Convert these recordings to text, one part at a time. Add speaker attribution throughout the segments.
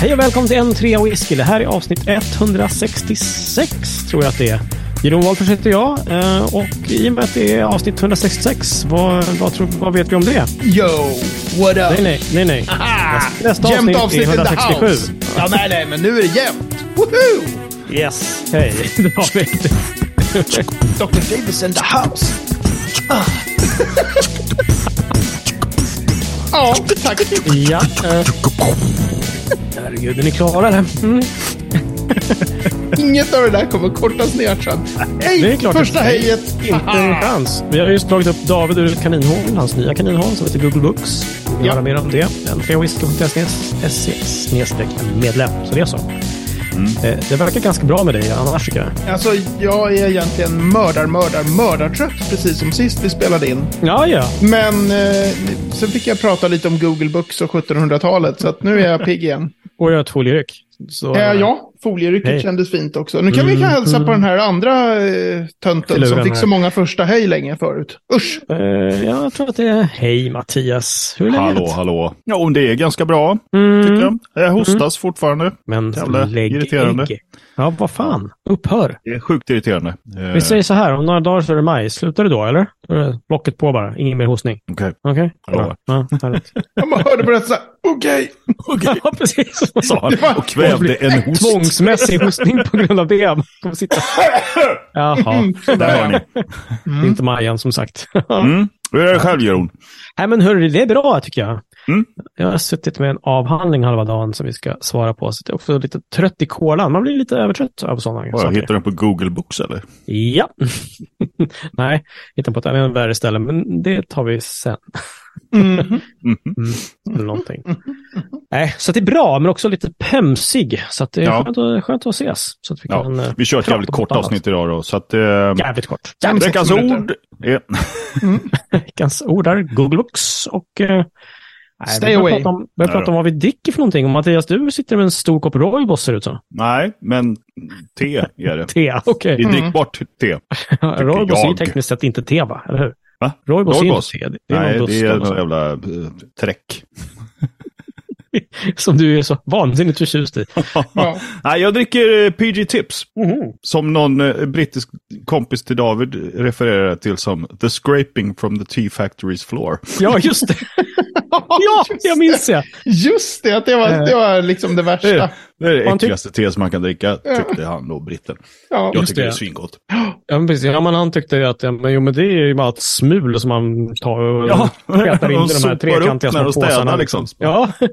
Speaker 1: Hej och välkommen till en trea whisky. Det här är avsnitt 166 tror jag att det är. Jeroen Wolffers heter jag eh, och i och med att det är avsnitt 166, vad, vad, tror, vad vet vi om det?
Speaker 2: Yo, what up?
Speaker 1: Nej, nej, nej, nej.
Speaker 2: Ah,
Speaker 1: Nästa
Speaker 2: jämnt
Speaker 1: avsnitt är
Speaker 2: avsnitt in the
Speaker 1: 167.
Speaker 2: house. Ja, nej, nej, men nu är det jämnt. Woohoo!
Speaker 1: Yes. Hej. Det har vi.
Speaker 2: Dr. Davis in the house. Ah. Ja, tack.
Speaker 1: Ja. Eh. Herregud, är ni klara eller? Mm.
Speaker 2: Inget av det där kommer kortas ner sen.
Speaker 1: Det är
Speaker 2: Hej,
Speaker 1: klart
Speaker 2: första
Speaker 1: att-
Speaker 2: hejet. Ah.
Speaker 1: Inte en chans. Vi har just dragit upp David ur kaninhålen, hans nya kaninhål som heter Google Books. Vill ni
Speaker 2: Ja.
Speaker 1: höra mer om det? Entreawhisky.se medlem. Så det är så. Eh, Det verkar ganska bra med dig annars tycker jag.
Speaker 2: Alltså, jag är egentligen mördar, mördar, mördartrött precis som sist vi spelade in.
Speaker 1: Ja, ja.
Speaker 2: Men eh, sen fick jag prata lite om Google Books och 1700-talet, så att nu är jag pigg igen.
Speaker 1: Och jag har ett folieryck. Så,
Speaker 2: Eh, ja, folierycket
Speaker 1: Hej.
Speaker 2: kändes fint också. Nu kan vi hälsa på den här andra eh, tönten
Speaker 1: Filuren
Speaker 2: som fick så
Speaker 1: här.
Speaker 2: många första hej länge förut. Usch!
Speaker 1: eh, jag tror att det är... Hej Mattias, hur är läget?
Speaker 3: Hallå, hallå. Ja, och det är ganska bra,
Speaker 1: Mm.
Speaker 3: tycker jag. Jag hostas fortfarande.
Speaker 1: Men
Speaker 3: Jävla
Speaker 1: lägg
Speaker 3: irriterande.
Speaker 1: ägg. Ja, vad fan. Upphör.
Speaker 3: Det är sjukt irriterande. Eh,
Speaker 1: Vi säger så här, om några dagar så är det maj. Slutar du då eller? Då är det Locket på bara, ingen mer hostning.
Speaker 3: Eh, Okej.
Speaker 1: Okej?
Speaker 3: Jag lovar.
Speaker 1: Ja, härligt.
Speaker 2: Jag bara hörde på det så här, okej.
Speaker 1: ja, precis. Så sa han.
Speaker 3: Sa han och kvävde en host.
Speaker 1: Tvångsmässig hostning på grund av det. Man kommer sitta... Jaha,
Speaker 3: Där har ni.
Speaker 1: det är inte Majan som sagt.
Speaker 3: Mm. Hur är det själv, Jeroen?
Speaker 1: Nej, men hörru, det är bra tycker jag.
Speaker 3: Mm.
Speaker 1: Jag har suttit med en avhandling halva dagen som vi ska svara på. Så jag är också lite trött i kolan. Man blir lite övertrött av sådana
Speaker 3: Vad,
Speaker 1: saker.
Speaker 3: Hittar den på Google Books, eller?
Speaker 1: Ja. Nej, hittade på ett annat värre ställe, men det tar vi sen.
Speaker 2: Mhm.
Speaker 1: Eller någonting. Nej, så att det är bra, men också lite pömsig. Så att det är
Speaker 3: Ja.
Speaker 1: skönt, att, skönt att ses. Så att vi
Speaker 3: Ja,
Speaker 1: kan... eh,
Speaker 3: vi kör ett
Speaker 1: prata
Speaker 3: jävligt
Speaker 1: om
Speaker 3: kort
Speaker 1: något annat.
Speaker 3: avsnitt idag då, så att... Eh,
Speaker 1: Jävligt kort.
Speaker 2: Jävligt
Speaker 3: veckans
Speaker 2: minuter.
Speaker 3: ord är...
Speaker 1: Veckans ord är Google Books och... eh, nej,
Speaker 2: Stay
Speaker 1: vi börjar
Speaker 2: away.
Speaker 1: prata om, börjar
Speaker 3: Nej
Speaker 1: prata
Speaker 3: då.
Speaker 1: om vad vi dricker för någonting. Och Mattias, du sitter med en stor kopp Royboss ser det ut som.
Speaker 3: Nej, men te är det.
Speaker 1: Te, okej. Mm.
Speaker 3: Det är drickbart te.
Speaker 1: Roybos är ju
Speaker 3: jag.
Speaker 1: tekniskt sett inte te, va? Eller hur?
Speaker 3: Va?
Speaker 1: Roybos är inte
Speaker 3: Roybos?
Speaker 1: te. Det är
Speaker 3: Nej,
Speaker 1: någon
Speaker 3: det är
Speaker 1: dust
Speaker 3: någon
Speaker 1: som,
Speaker 3: jävla eh, träck.
Speaker 1: som du är så vansinnigt förtjust i.
Speaker 2: Ja.
Speaker 3: Nej, jag dricker eh, PG Tips. Som någon eh, brittisk kompis till David refererar till som The Scraping from the Tea Factory's Floor.
Speaker 1: Ja, just det. ja,
Speaker 2: Just
Speaker 1: jag minns det.
Speaker 2: Just det, att det var, det var liksom det
Speaker 3: Det
Speaker 2: värsta.
Speaker 3: är det, är det
Speaker 1: Man tyck-
Speaker 3: äckligaste te som man kan dricka, tyckte han då, britten.
Speaker 2: Ja.
Speaker 3: Jag
Speaker 1: Just
Speaker 3: tycker det är
Speaker 1: det.
Speaker 3: svingott.
Speaker 1: Ja, men precis. Ja, men han tyckte ju att ja, men, jo, men det är ju bara ett smul som man tar och
Speaker 3: Ja,
Speaker 1: petar in
Speaker 3: de
Speaker 1: i de
Speaker 3: sopar
Speaker 1: här
Speaker 3: upp
Speaker 1: trekantiga
Speaker 3: när
Speaker 1: små
Speaker 3: de städar,
Speaker 1: påsarna.
Speaker 3: liksom.
Speaker 1: Ja.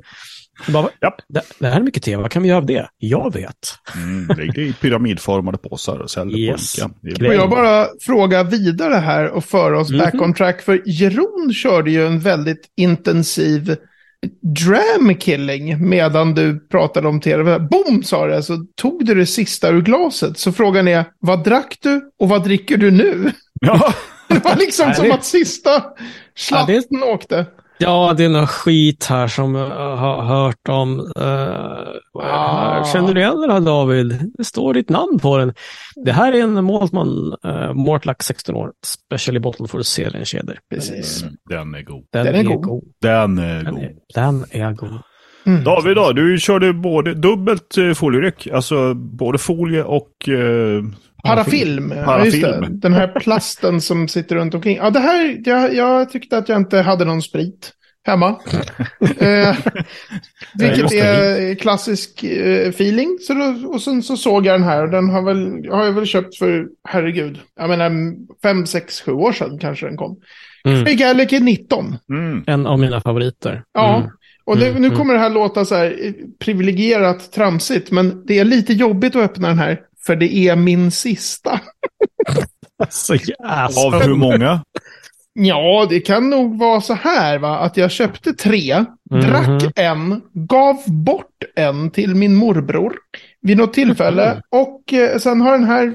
Speaker 1: Bara,
Speaker 3: Japp.
Speaker 1: det, det här är mycket te, vad kan vi göra av det? Jag vet.
Speaker 3: Mm, det är i pyramidformade påsar och säljer
Speaker 1: Yes.
Speaker 3: på Ica. Det är
Speaker 1: Kräm.
Speaker 2: Och
Speaker 3: bra.
Speaker 2: jag bara frågar vidare här och för oss
Speaker 1: Mhm.
Speaker 2: back on track. För Jeroen körde ju en väldigt intensiv dram killing medan du pratade om tv. Boom sa det, så tog du det sista ur glaset. Så frågan är, vad drack du och vad dricker du nu?
Speaker 3: Ja,
Speaker 2: Det var liksom
Speaker 1: Nej,
Speaker 2: som
Speaker 1: det-
Speaker 2: att sista slatten åkte.
Speaker 1: Ja, det är någon skit här som jag har hört om. Eh,
Speaker 2: Ah.
Speaker 1: Känner du igen den här David? Det står ditt namn på den. Det här är en Maltman uh, Mortlack 16 år, specially bottled for Serien Shader.
Speaker 2: Precis.
Speaker 3: Mm, den är god.
Speaker 1: Den,
Speaker 2: Den
Speaker 1: är,
Speaker 2: är
Speaker 1: god.
Speaker 2: god.
Speaker 3: Den är
Speaker 1: Den, är,
Speaker 3: god.
Speaker 1: den är god.
Speaker 3: David då, du körde både dubbelt eh, folieryck, alltså både folie och... Eh,
Speaker 2: Parafilm. Ja, just
Speaker 3: Parafilm.
Speaker 2: det. Den här plasten som sitter runt omkring. Ja, det här, jag, jag tyckte att jag inte hade någon sprit hemma. eh, vilket
Speaker 3: måste
Speaker 2: är klassisk eh, feeling. Så då, och sen så såg jag den här och den har, väl, har jag väl köpt för, herregud, jag menar fem, sex, sju år sedan kanske den kom.
Speaker 1: Mm.
Speaker 2: Craig Alec är 19.
Speaker 3: mm,
Speaker 1: En av mina favoriter.
Speaker 2: Ja,
Speaker 1: Mm.
Speaker 2: och det,
Speaker 1: Mm,
Speaker 2: nu
Speaker 1: mm.
Speaker 2: kommer det här låta så här eh, privilegierat tramsigt, men det är lite jobbigt att öppna den här, för det är min sista.
Speaker 1: Alltså, yes.
Speaker 3: av hur många?
Speaker 2: Ja, det kan nog vara så här, va? att jag köpte tre,
Speaker 1: Mhm.
Speaker 2: drack en, gav bort en till min morbror vid något
Speaker 1: Mhm.
Speaker 2: tillfälle och eh, sen har den här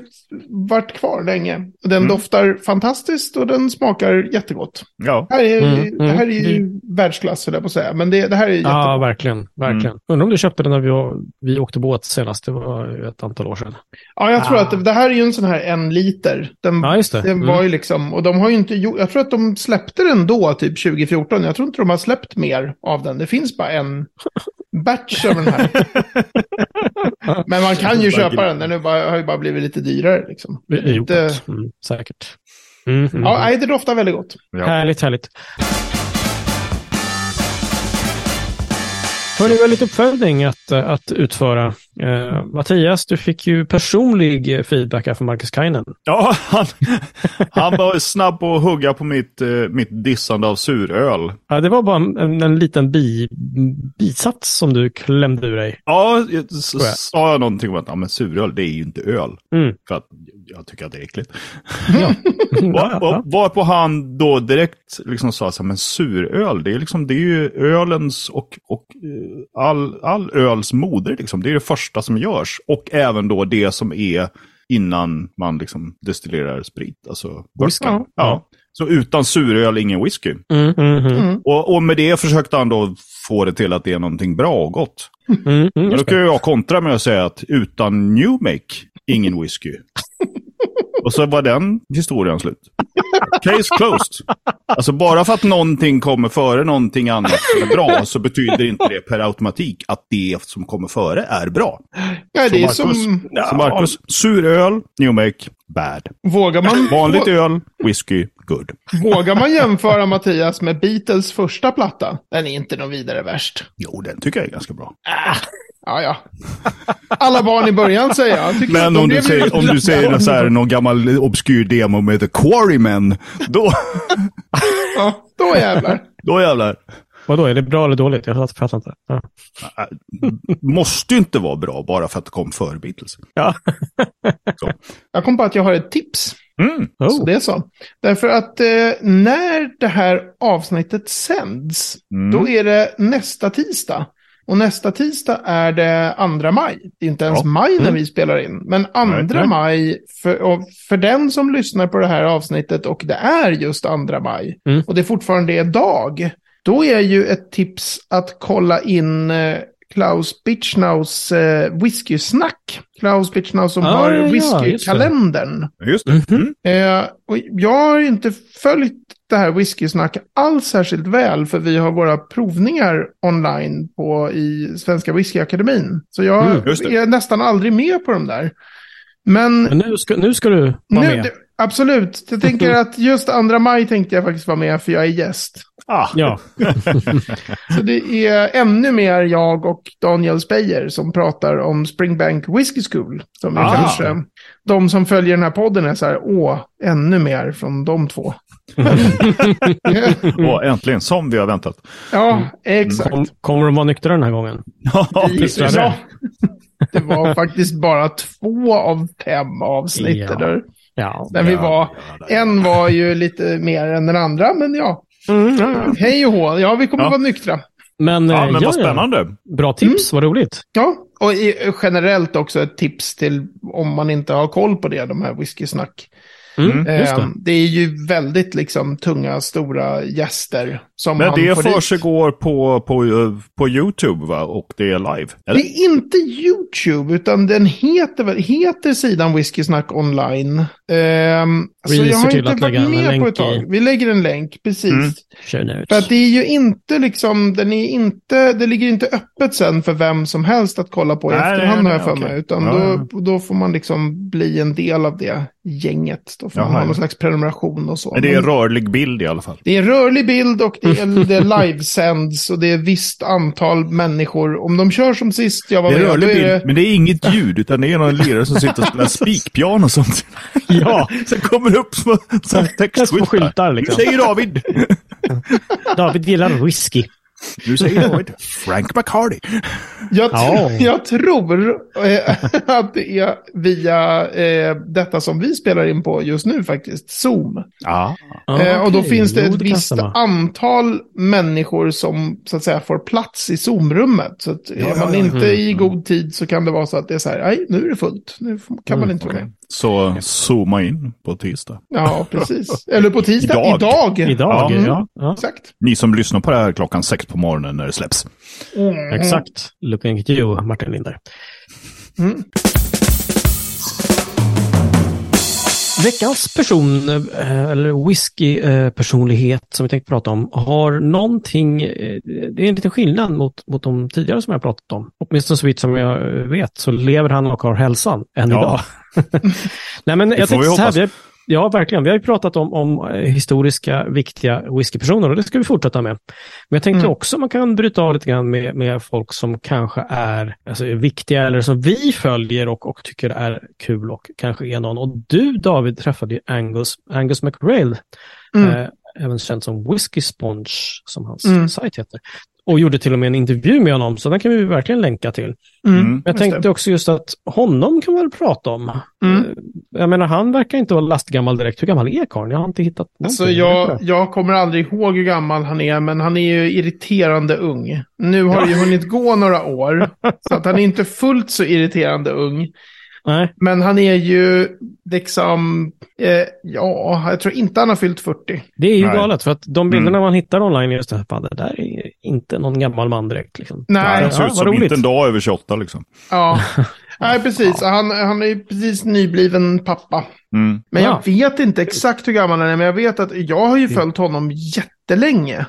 Speaker 2: varit kvar länge. Och
Speaker 1: Mm.
Speaker 2: Den doftar fantastiskt och den smakar jättegott.
Speaker 3: Ja.
Speaker 2: Det här är,
Speaker 1: Mm,
Speaker 2: det här är
Speaker 1: mm.
Speaker 2: ju världsklass, höll jag på att säga, men det, det här är jättegott.
Speaker 1: Ja, verkligen. verkligen.
Speaker 2: Mm.
Speaker 1: Undrar om du köpte den när vi, var- vi åkte båt senast. Det var ju ett antal år sedan.
Speaker 2: Ja, jag tror
Speaker 1: Ah.
Speaker 2: att det, det här är ju en sån här en liter. Den,
Speaker 1: Ja, just det.
Speaker 3: Mm.
Speaker 1: Mm.
Speaker 2: den var ju liksom, och de har ju inte gjort, jag tror att de släppte den då, typ 2014. Jag tror inte de har släppt mer av den. Det finns bara en batch av den här. Men man kan ju
Speaker 3: Bara
Speaker 2: köpa den, den är bara, har ju bara blivit lite dyrare. Liksom.
Speaker 1: Jo,
Speaker 2: Det-
Speaker 1: tack. mm, säkert. Mm, mm.
Speaker 2: Ja, nej, det doftar väldigt gott.
Speaker 3: Ja.
Speaker 1: Härligt, härligt. Hörni, vi har lite uppföljning att, eh, att utföra. Eh, Mattias, du fick ju personlig eh, feedback här från Marcus Kainen.
Speaker 3: Ja, han, han var snabb på att hugga på mitt, eh, mitt dissande av suröl.
Speaker 1: Ja, det var bara en, en, en liten bi, bisats som du klämde ur dig.
Speaker 3: Ja, så
Speaker 1: jag.
Speaker 3: sa jag någonting om att ja, men suröl, det är ju inte öl.
Speaker 1: Mm.
Speaker 3: För att jag tycker att det är äckligt.
Speaker 1: Ja,
Speaker 3: Var, varpå han då direkt liksom sa så här, men suröl, det är, liksom, det är ju ölens och, och eh, all, all öls moder. Liksom. Det är det första som görs. Och även då det som är innan man liksom destillerar sprit, alltså whisky.
Speaker 2: Ja.
Speaker 3: Ja. Så utan suröl, ingen whisky.
Speaker 1: Mm, mm, mm,
Speaker 3: Och, och med det försökte han då få det till att det är någonting bra och gott.
Speaker 1: mm, mm,
Speaker 3: Men
Speaker 1: just
Speaker 3: då
Speaker 1: det.
Speaker 3: kan ju jag kontra med att säga att utan New Make, ingen whisky. Och så var den historien slut. Case closed. Alltså bara för att någonting kommer före någonting annat som är bra så betyder inte det per automatik att det som kommer före är bra.
Speaker 2: Ja,
Speaker 3: Så
Speaker 2: det är
Speaker 3: Marcus,
Speaker 2: som,
Speaker 3: så Marcus suröl, New Make, bad.
Speaker 2: vågar man,
Speaker 3: Vanligt öl, whisky, good.
Speaker 2: vågar man jämföra Mattias med Beatles första platta? Den är inte någon vidare värst.
Speaker 3: Jo, den tycker jag är ganska bra.
Speaker 2: Ja, ja. Alla barn i början säger jag. Tycker att
Speaker 3: Men
Speaker 2: de
Speaker 3: om du
Speaker 2: blev ju
Speaker 3: säger, om du säger så här, någon gammal obskyr demo med The Quarrymen, då,
Speaker 2: Ja, då jävlar.
Speaker 3: då jävlar.
Speaker 1: Vadå, är det bra eller dåligt? Jag fattar inte. Ja.
Speaker 3: måste ju inte vara bra bara för att det kom före Beatles.
Speaker 1: Ja.
Speaker 2: Jag kom på att jag har ett tips.
Speaker 3: Mm.
Speaker 2: Så
Speaker 1: Oh.
Speaker 2: det är så. Därför att eh, när det här avsnittet sänds,
Speaker 3: Mm.
Speaker 2: då
Speaker 1: Mm.
Speaker 2: är det nästa tisdag. Och nästa tisdag är det andra maj. Det är inte ens
Speaker 3: Ja.
Speaker 2: maj när
Speaker 1: Mm.
Speaker 2: vi spelar in. Men andra
Speaker 3: nej.
Speaker 2: maj, för, och för den som lyssnar på det här avsnittet och det är just andra maj,
Speaker 1: Mm.
Speaker 2: och det fortfarande är dag, då är ju ett tips att kolla in eh, Klaus Bitchnaus eh, whiskysnack. Klaus Bitchnau som
Speaker 1: Ah,
Speaker 2: har
Speaker 1: ja, just det.
Speaker 2: whiskykalendern.
Speaker 3: Just det.
Speaker 1: Mm-hmm.
Speaker 3: Mm.
Speaker 2: Eh, och jag har inte följt det här whiskysnacket alls särskilt väl, för vi har våra provningar online på, i Svenska Whiskyakademin. Så jag
Speaker 1: Mm,
Speaker 3: just det.
Speaker 2: är nästan aldrig med på de där. Men
Speaker 1: Men nu ska, nu ska du vara
Speaker 2: nu,
Speaker 1: med.
Speaker 2: det, absolut, jag tänker att just andra maj tänkte jag faktiskt vara med, för jag är gäst.
Speaker 3: Ah.
Speaker 1: Ja.
Speaker 2: Så det är ännu mer jag och Daniel Speyer som pratar om Springbank Whisky School. Som är
Speaker 3: Ah.
Speaker 2: kanske, de som följer den här podden är så här, åh, ännu mer från de två.
Speaker 3: Och äntligen, som vi har väntat.
Speaker 2: Ja, exakt.
Speaker 1: Kom, kommer de vara nyktra den här gången?
Speaker 3: Ja, precis.
Speaker 1: Visst Mm. var det.
Speaker 2: Ja. Det var faktiskt bara två av fem avsnitt
Speaker 1: Ja.
Speaker 2: där,
Speaker 1: Ja.
Speaker 2: där vi
Speaker 3: Ja,
Speaker 2: var.
Speaker 3: ja, ja.
Speaker 2: En var ju lite mer än den andra, men ja.
Speaker 1: Mm, ja, ja.
Speaker 2: Hej och hå, ja vi kommer
Speaker 3: Ja.
Speaker 2: vara nyktra.
Speaker 1: Men,
Speaker 3: Ja,
Speaker 1: eh,
Speaker 3: men vad
Speaker 1: ja, ja.
Speaker 3: spännande.
Speaker 1: Bra
Speaker 2: Mm.
Speaker 1: tips, vad roligt.
Speaker 2: Ja, och i, generellt också ett tips till om man inte har koll på det, de här whiskysnack.
Speaker 1: Mm, just det.
Speaker 2: Ehm, det är ju väldigt liksom tunga, stora gäster som
Speaker 3: Men
Speaker 2: han
Speaker 3: det
Speaker 2: får dit.
Speaker 3: försiggår på, på, eh, på YouTube va? Och det är live?
Speaker 2: Det
Speaker 3: Eller?
Speaker 2: är inte YouTube, utan den heter, väl- heter sidan Whiskysnack online. Ehm,
Speaker 1: Vi
Speaker 2: så jag
Speaker 1: ser
Speaker 2: har
Speaker 1: till
Speaker 2: inte
Speaker 1: att
Speaker 2: varit
Speaker 1: lägga en
Speaker 2: med
Speaker 1: länk
Speaker 2: på ett tag.
Speaker 1: i-
Speaker 2: Vi lägger en länk, precis.
Speaker 3: Mm.
Speaker 1: Show notes.
Speaker 2: För att det är ju inte liksom, den är inte, det ligger inte öppet sen för vem som helst att kolla på i
Speaker 3: Nej, nej,
Speaker 2: efterhand har
Speaker 3: nej,
Speaker 2: jag för
Speaker 3: okej.
Speaker 2: mig. Utan
Speaker 3: Ja,
Speaker 2: då, då får man liksom bli en del av det gänget. Då får man
Speaker 3: Jaha,
Speaker 2: ha någon
Speaker 3: ja.
Speaker 2: slags prenumeration och så.
Speaker 3: Men det är
Speaker 2: Men-
Speaker 3: en rörlig bild i alla fall.
Speaker 2: det är rörlig bild och det, är, det är livesänds och det är visst antal människor. Om de kör som sist jag var
Speaker 3: Det är
Speaker 2: med, då
Speaker 3: en rörlig
Speaker 2: är
Speaker 3: bild,
Speaker 2: det...
Speaker 3: men det är inget ljud, utan det är någon lirare som sitter och spelar spikpiano och sånt.
Speaker 1: Ja,
Speaker 3: Sen kommer det upp små så här
Speaker 1: små
Speaker 3: textskyltar.
Speaker 1: skyltar
Speaker 3: Nu
Speaker 1: liksom.
Speaker 3: säger David.
Speaker 1: David gillar whisky.
Speaker 3: Nu säger David. Frank McCarty.
Speaker 2: Jag,
Speaker 1: Ja.
Speaker 2: tr- jag tror eh, att det är via eh, detta som vi spelar in på just nu faktiskt, Zoom.
Speaker 3: Ja.
Speaker 2: eh, och då
Speaker 1: okej.
Speaker 2: finns det
Speaker 1: Jo,
Speaker 2: ett
Speaker 1: kan
Speaker 2: visst
Speaker 1: stämma.
Speaker 2: antal människor som så att säga får plats i Zoom-rummet. Så att, är
Speaker 3: ja,
Speaker 2: man
Speaker 3: ja.
Speaker 2: inte
Speaker 1: Mm,
Speaker 2: i god tid så kan det vara så att det är så här, nej, nu är det fullt, nu f- kan man
Speaker 1: Mm,
Speaker 2: inte vara med.
Speaker 3: Så zooma in på tisdag.
Speaker 2: Ja, precis. Eller på tisdag,
Speaker 3: Idag.
Speaker 2: idag.
Speaker 1: Idag,
Speaker 3: Ja.
Speaker 1: ja. ja.
Speaker 2: Exakt.
Speaker 3: Ni som lyssnar på det här klockan sex på morgonen när det släpps.
Speaker 2: Mm.
Speaker 1: Exakt. Looking at you, Martin Linder.
Speaker 2: Mm.
Speaker 1: Veckans person, eh, eller whisky-personlighet som vi tänkte prata om, har någonting, eh, det är en liten skillnad mot, mot de tidigare som jag pratat om. Åtminstone så vitt som jag vet så lever han och har hälsan än
Speaker 3: Ja.
Speaker 1: idag. Nej, men jag
Speaker 3: får vi
Speaker 1: tänkte så här,
Speaker 3: hoppas.
Speaker 1: vi har, ja verkligen, vi har ju pratat om, om eh, historiska viktiga whiskypersoner och det ska vi fortsätta med. Men jag tänkte
Speaker 2: Mm.
Speaker 1: också man kan bryta av lite grann med, med folk som kanske är alltså, är viktiga eller som vi följer och, och tycker är kul och kanske är någon. Och du David träffade ju Angus, Angus McRail,
Speaker 2: Mm.
Speaker 1: eh, även känd som Whiskey Sponge som hans
Speaker 2: Mm.
Speaker 1: sajt heter. Och gjorde till och med en intervju med honom, så den kan vi verkligen länka till.
Speaker 3: Mm.
Speaker 1: Jag
Speaker 2: Just det.
Speaker 1: tänkte också just att honom kan vi väl prata om.
Speaker 2: Mm.
Speaker 1: Eh, Jag menar, han verkar inte vara lastgammal direkt. Hur gammal är karln? Jag har inte hittat
Speaker 2: Alltså
Speaker 1: någonting.
Speaker 2: jag, jag kommer aldrig ihåg hur gammal han är, men han är ju irriterande ung. Nu har det ju hunnit gå några år, så att han är inte fullt så irriterande ung.
Speaker 1: Nej,
Speaker 2: Men han är ju liksom, eh, ja, jag tror inte han har fyllt 40.
Speaker 1: det är ju
Speaker 3: Nej.
Speaker 1: galet för att
Speaker 2: Mm.
Speaker 1: de bilderna man hittar online är just det här, fan, det där är inte någon gammal man direkt. Liksom.
Speaker 2: Nej,
Speaker 3: Han ser
Speaker 1: Ja,
Speaker 3: ut
Speaker 1: vad
Speaker 3: som
Speaker 1: roligt.
Speaker 3: inte en dag över 28 liksom.
Speaker 2: Ja, Nej, precis. Han, han är ju precis nybliven pappa.
Speaker 3: Mm.
Speaker 2: Men
Speaker 1: Ja.
Speaker 2: jag vet inte exakt hur gammal han är, men jag vet att jag har ju följt honom jättelänge.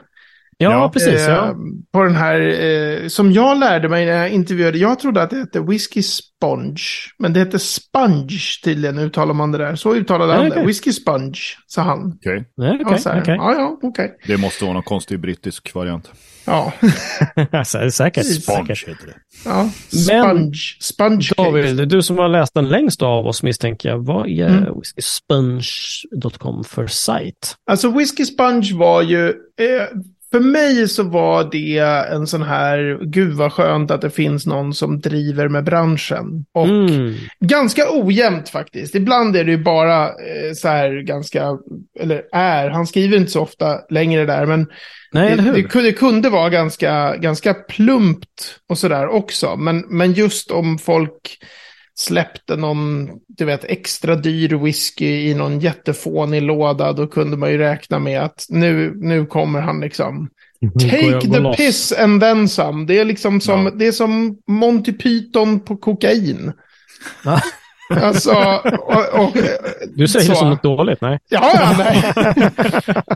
Speaker 1: Ja,
Speaker 3: Ja.
Speaker 1: precis.
Speaker 2: Eh,
Speaker 1: Ja.
Speaker 2: På den här, eh, som jag lärde mig när jag intervjuade, jag trodde att det hette Whiskey Sponge, men det hette Sponge tydligen uttalar man det där. Så uttalade
Speaker 1: Ja,
Speaker 2: han
Speaker 1: okej.
Speaker 2: det, Whiskey Sponge, sa han.
Speaker 3: Okej,
Speaker 1: Nej,
Speaker 2: Jag
Speaker 1: Okej,
Speaker 2: var så här,
Speaker 1: okej.
Speaker 2: Ja, ja, okej.
Speaker 3: det måste vara någon konstig brittisk variant.
Speaker 2: Ja,
Speaker 1: Sä- Säkert.
Speaker 3: Sponge
Speaker 1: säkert.
Speaker 3: heter det.
Speaker 2: ja.
Speaker 1: Men-
Speaker 2: Sponge, sponge cake.
Speaker 1: David, du som har läst den längst av oss misstänker jag. Vad är
Speaker 2: Mm.
Speaker 1: whiskysponge.com för sajt?
Speaker 2: Alltså Whiskey Sponge var ju, eh, för mig så var det en sån här, gud vad skönt att det finns någon som driver med branschen. Och
Speaker 1: Mm.
Speaker 2: Ganska ojämnt faktiskt. Ibland är det ju bara eh, så här ganska, eller är, han skriver inte så ofta längre där, men
Speaker 1: Nej,
Speaker 2: det,
Speaker 1: eller hur?
Speaker 2: det, kunde, det kunde vara ganska, ganska plumpt och sådär också. Men, men just om folk släppte någon, du vet, extra dyr whisky i någon jättefånig låda, då kunde man ju räkna med att nu, nu kommer han liksom.
Speaker 1: Går
Speaker 2: Take
Speaker 1: jag- går
Speaker 2: the
Speaker 1: loss.
Speaker 2: piss and then some. Det är liksom som,
Speaker 3: Ja.
Speaker 2: det är som Monty Python på kokain.
Speaker 1: Va?
Speaker 2: alltså, och, och,
Speaker 1: Du säger
Speaker 2: så.
Speaker 1: det som något dåligt. Nej.
Speaker 2: Ja, ja, nej.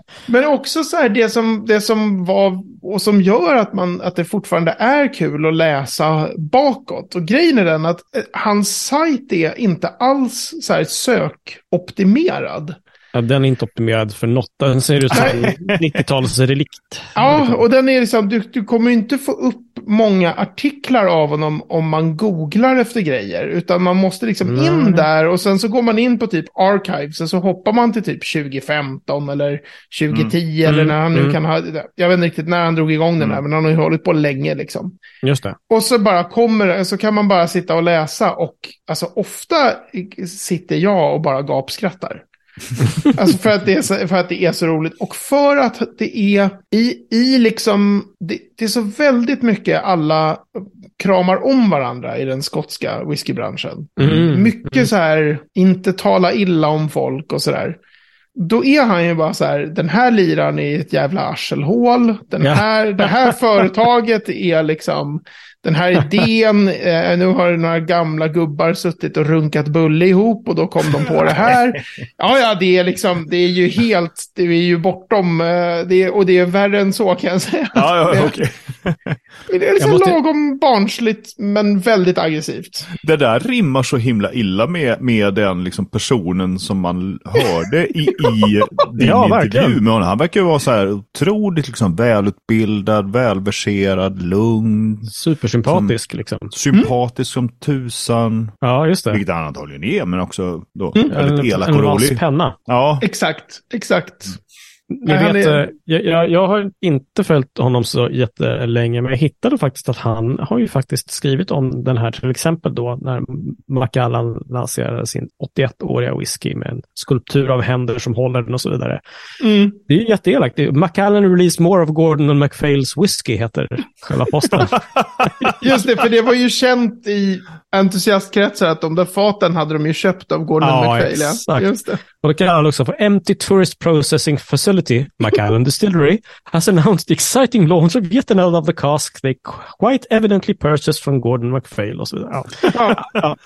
Speaker 2: Men också så här, det som, det som var och som gör att, man, att det fortfarande är kul att läsa bakåt. Och grejen är den att eh, hans sajt är inte alls så här sökoptimerad.
Speaker 1: Ja, den är inte optimerad för något. Den ser ut som en 90-talsrelikt.
Speaker 2: Ja, och den är liksom, du, du kommer ju inte få upp många artiklar av honom om man googlar efter grejer. Utan man måste liksom
Speaker 1: Nej.
Speaker 2: in där och sen så går man in på typ archives och så hoppar man till typ 2015 eller 2010 eller
Speaker 1: Mm,
Speaker 2: när han nu
Speaker 1: mm.
Speaker 2: kan ha, jag vet inte riktigt när han drog igång den här, men han har ju hållit på länge liksom.
Speaker 1: Just det.
Speaker 2: Och så bara kommer det, så kan man bara sitta och läsa och alltså ofta sitter jag och bara gapskrattar. alltså för att, det är så, för att det är så roligt. Och för att det är i, i liksom, det, det är så väldigt mycket alla kramar om varandra i den skotska whiskybranschen.
Speaker 1: Mm.
Speaker 2: Mycket så här, inte tala illa om folk och så där. Då är han ju bara så här, den här liraren är ett jävla arselhål. Den
Speaker 1: Ja.
Speaker 2: här, Det här företaget är liksom, den här idén, eh, nu har några gamla gubbar suttit och runkat bulle ihop och då kom de på det här. Ja, ja, det är liksom, det är ju helt, det är ju bortom, eh, det är, och det är värre än så kan jag säga.
Speaker 3: Ja, ja, okej.
Speaker 2: Det är liksom
Speaker 1: måste-
Speaker 2: lagom barnsligt, men väldigt aggressivt.
Speaker 3: Det där rimmar så himla illa med, med den liksom personen som man hörde i, i din
Speaker 1: Ja, verkligen.
Speaker 3: intervju med honom. Han verkar ju vara så här otroligt liksom välutbildad, välverserad, lugn,
Speaker 1: Supersympatisk liksom.
Speaker 3: sympatisk som tusan.
Speaker 1: Ja, just det.
Speaker 3: Vilket han antagligen är, men också då
Speaker 1: En,
Speaker 3: väldigt elak
Speaker 1: en
Speaker 3: och
Speaker 1: vass
Speaker 3: rolig.
Speaker 1: penna.
Speaker 3: Ja,
Speaker 2: Exakt, exakt. Nej,
Speaker 1: Jag,
Speaker 2: han
Speaker 1: vet,
Speaker 2: är-
Speaker 1: eh, jag, jag, jag har inte följt honom så jättelänge, men jag hittade faktiskt att han har ju faktiskt skrivit om den här, till exempel då när Macallan lanserade sin 81-åriga whisky med en skulptur av händer som håller den och så vidare.
Speaker 2: Mm.
Speaker 1: Det är ju jätteelakt. Det är- Macallan Release More of Gordon and MacPhails Whisky heter själva posten.
Speaker 2: Just det, för det var ju känt i entusiastkretsar att de där faten hade de ju köpt av Gordon
Speaker 1: Ja,
Speaker 2: McPhail. ja.
Speaker 1: exakt.
Speaker 2: Just det.
Speaker 1: Och då kallar han också för Empty Tourist Processing Facility, Macallan Distillery, has announced the exciting launch of yet another of the cask they quite evidently purchased from Gordon MacPhail och så vidare. Ja.
Speaker 2: Ja.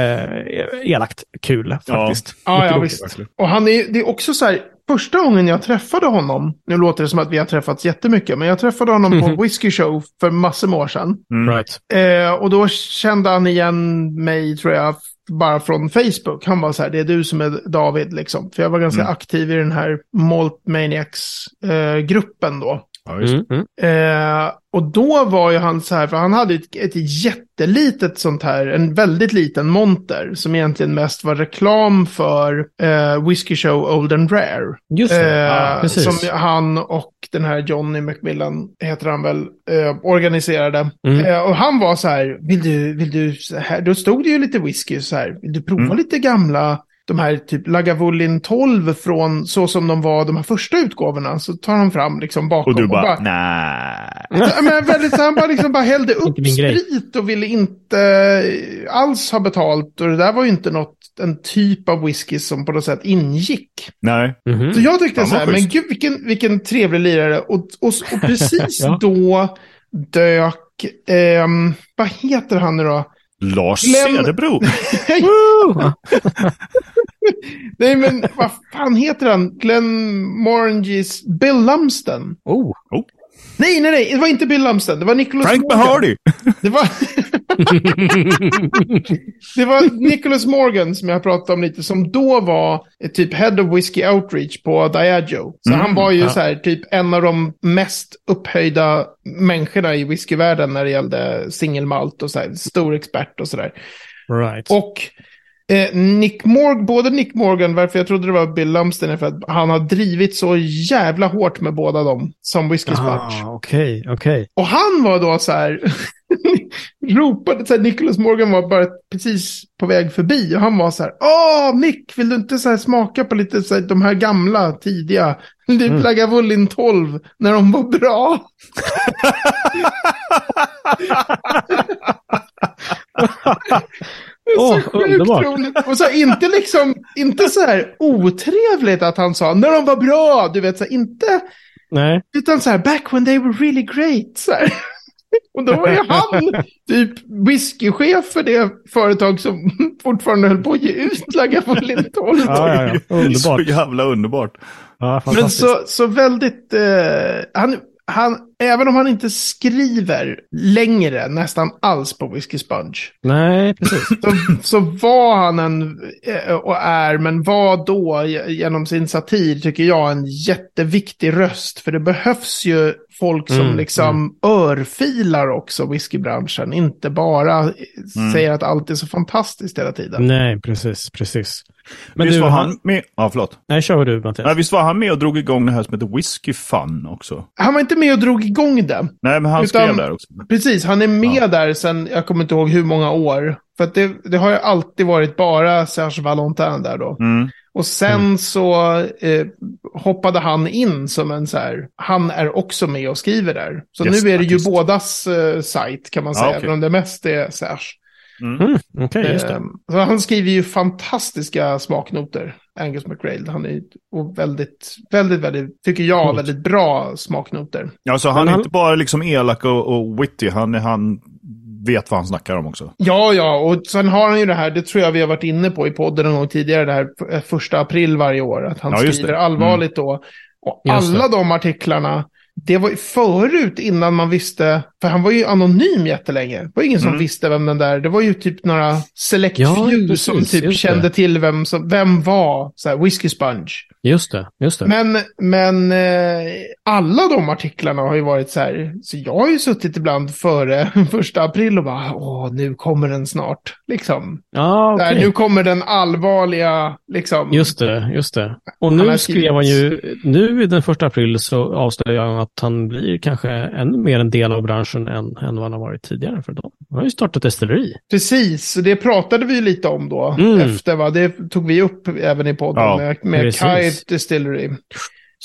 Speaker 1: eh, elakt kul faktiskt.
Speaker 2: Ja,
Speaker 1: Mycket
Speaker 2: ja
Speaker 1: roligt.
Speaker 2: visst. Och han är, det är också så här, första gången jag träffade honom, nu låter det som att vi har träffats jättemycket, men jag träffade honom
Speaker 1: Mhm.
Speaker 2: på Whiskey Show för massor med år sedan.
Speaker 3: Mm.
Speaker 1: Right.
Speaker 2: Eh, och då kände han igen mig, tror jag, bara från Facebook. Han var så här, det är du som är David, liksom. För jag var ganska
Speaker 3: Mm.
Speaker 2: aktiv i den här Malt Maniacs-gruppen då.
Speaker 3: Ja, just. det.
Speaker 1: Mm, mm.
Speaker 2: Eh, och då var ju han så här, för han hade ett, ett jättelitet sånt här, en väldigt liten monter som egentligen mest var reklam för eh, Whiskey Show Old and Rare.
Speaker 1: Just det.
Speaker 2: Eh,
Speaker 1: precis.
Speaker 2: som han och den här Johnny Macmillan, heter han väl, eh, organiserade.
Speaker 1: Mm.
Speaker 2: Eh, och han var så här, vill du, vill du, så här, då stod det ju lite whisky så här, vill du prova
Speaker 3: Mm.
Speaker 2: lite gamla, de här typ Lagavulin 12 från så som de var de här första utgåvorna. Så tar han fram liksom bakom
Speaker 3: Och du bara, nej.
Speaker 2: Ja, Men väldigt, så han bara, liksom bara hällde upp
Speaker 1: Inte min grej.
Speaker 2: sprit och ville inte eh, alls ha betalt. Och det där var ju inte något, en typ av whisky som på något sätt ingick.
Speaker 3: Nej.
Speaker 1: Mhm.
Speaker 2: Så jag tyckte
Speaker 3: Fan,
Speaker 2: så
Speaker 3: vad
Speaker 2: här, men
Speaker 3: schysst.
Speaker 2: gud vilken, vilken trevlig lirare. Och, och, och precis
Speaker 1: Ja.
Speaker 2: då dök, ehm, vad heter han nu då?
Speaker 3: Lars
Speaker 2: Glöm-
Speaker 3: Cederbro.
Speaker 1: Woo!
Speaker 2: Nej men vad fan heter han? Glenn Moranges Bill Lumsden.
Speaker 1: Oh.
Speaker 2: Nej, nej, nej, det var inte Bill Lumsden, det var Nicholas
Speaker 3: Frank
Speaker 2: Morgan.
Speaker 3: Mahardy.
Speaker 2: Det var... det var Nicholas Morgan som jag pratade om lite, som då var eh, typ Head of Whiskey Outreach på Diageo. Så
Speaker 3: Mm,
Speaker 2: han var ju
Speaker 1: ja.
Speaker 2: så här, typ en av de mest upphöjda människorna i whiskyvärlden när det gällde singelmalt och så här, stor expert och sådär.
Speaker 1: Right.
Speaker 2: Och eh, Nick Morgan, både Nick Morgan, varför jag trodde det var Bill Lumsden, är för att han har drivit så jävla hårt med båda dem som whiskyspatch.
Speaker 1: Ah, Okej, okej.
Speaker 2: Och han var då så här, ropade, så här, Nicholas Morgan var bara precis på väg förbi och han var så här, åh Nick, vill du inte så här smaka på lite så här, de här gamla, tidiga, typ
Speaker 1: Mm.
Speaker 2: Lagavulin 12, när de var bra. Det är
Speaker 1: Åh,
Speaker 2: så sjukt
Speaker 1: underbart.
Speaker 2: roligt. Och så här, inte liksom, inte så här otrevligt att han sa, när de var bra, du vet, så här, inte,
Speaker 1: Nej.
Speaker 2: utan så här, back when they were really great. Så här. Och då var ju han typ whiskychef för det företag som fortfarande höll på att ge ut Lagavulin 12.
Speaker 1: Ja, ja, ja.
Speaker 3: Så
Speaker 1: Underbart.
Speaker 3: jävla underbart.
Speaker 1: Ja,
Speaker 2: Men
Speaker 1: fantastiskt.
Speaker 2: så, så väldigt, eh, han, han, även om han inte skriver längre nästan alls på Whiskey Sponge,
Speaker 1: Nej, precis.
Speaker 2: så, så var han en, eh, och är, men var då ge- genom sin satir, tycker jag, en jätteviktig röst. För det behövs ju folk som
Speaker 1: Mm,
Speaker 2: liksom örfilar också whiskybranschen. Inte bara eh,
Speaker 3: Mm.
Speaker 2: säger att allt är så fantastiskt hela tiden.
Speaker 1: Nej, precis, precis. Men
Speaker 3: visst
Speaker 1: du,
Speaker 3: var
Speaker 1: han...
Speaker 3: han med... Ja, förlåt.
Speaker 1: Nej, kör du, Mattias.
Speaker 3: Nej, visst var han med och drog igång det här som heter Whiskey Fun också?
Speaker 2: Han var inte med och drog igång det.
Speaker 3: Nej, men han
Speaker 2: Utan-
Speaker 3: skrev där också.
Speaker 2: Precis, han är med där sen, jag kommer inte ihåg hur många år. För att det, det har ju alltid varit bara Serge Valentin där då.
Speaker 3: Mm.
Speaker 2: Och sen så eh, hoppade han in som en så här, han är också med och skriver där. Så
Speaker 3: Yes,
Speaker 2: nu är det ju
Speaker 3: faktiskt.
Speaker 2: bådas eh, sajt kan man
Speaker 3: Ja,
Speaker 2: säga,
Speaker 3: okej.
Speaker 2: även om det mest är Sash.
Speaker 3: Mm.
Speaker 1: Mm, Okej, just det.
Speaker 2: Eh, så han skriver ju fantastiska smaknoter, Angus McRail. Han är ju- och väldigt, väldigt, väldigt, tycker jag,
Speaker 1: Coolt.
Speaker 2: väldigt bra smaknoter.
Speaker 3: Alltså, han
Speaker 1: Men
Speaker 3: är
Speaker 1: han-
Speaker 3: inte bara liksom elak och, och witty, han, han vet vad han snackar om också.
Speaker 2: Ja, ja, och sen har han ju det här, det tror jag vi har varit inne på i podden en gång tidigare, det här f- första april varje år, att han
Speaker 3: Ja, just
Speaker 2: skriver
Speaker 3: det.
Speaker 2: allvarligt då. Och
Speaker 1: Mm. Just
Speaker 2: alla de artiklarna, det var ju förut innan man visste, för han var ju anonym jättelänge. Det var ingen som
Speaker 3: Mm.
Speaker 2: visste vem den där, det var ju typ några select
Speaker 1: Ja,
Speaker 2: few
Speaker 1: precis,
Speaker 2: som typ
Speaker 1: just
Speaker 2: kände
Speaker 1: det.
Speaker 2: till vem, som, vem var så här, Whiskey Sponge.
Speaker 1: Just det, just det.
Speaker 2: Men, men eh, alla de artiklarna har ju varit så här, så jag har ju suttit ibland före första april och bara, åh, nu kommer den snart, liksom.
Speaker 1: Ja,
Speaker 2: Så här,
Speaker 1: okej.
Speaker 2: nu kommer den allvarliga, liksom.
Speaker 1: Just det, just det. Och
Speaker 2: Han har
Speaker 1: nu
Speaker 2: skrivit-
Speaker 1: skrev han ju, nu i den första april så avslöjar han att han blir kanske ännu mer en del av branschen än, än vad han har varit tidigare för dem. Han har ju startat destilleri.
Speaker 2: Precis, så det pratade vi ju lite om då,
Speaker 1: Mm.
Speaker 2: efter, va? det tog vi upp även i podden
Speaker 3: Ja,
Speaker 2: med, med
Speaker 1: precis.
Speaker 2: Kite Distillery.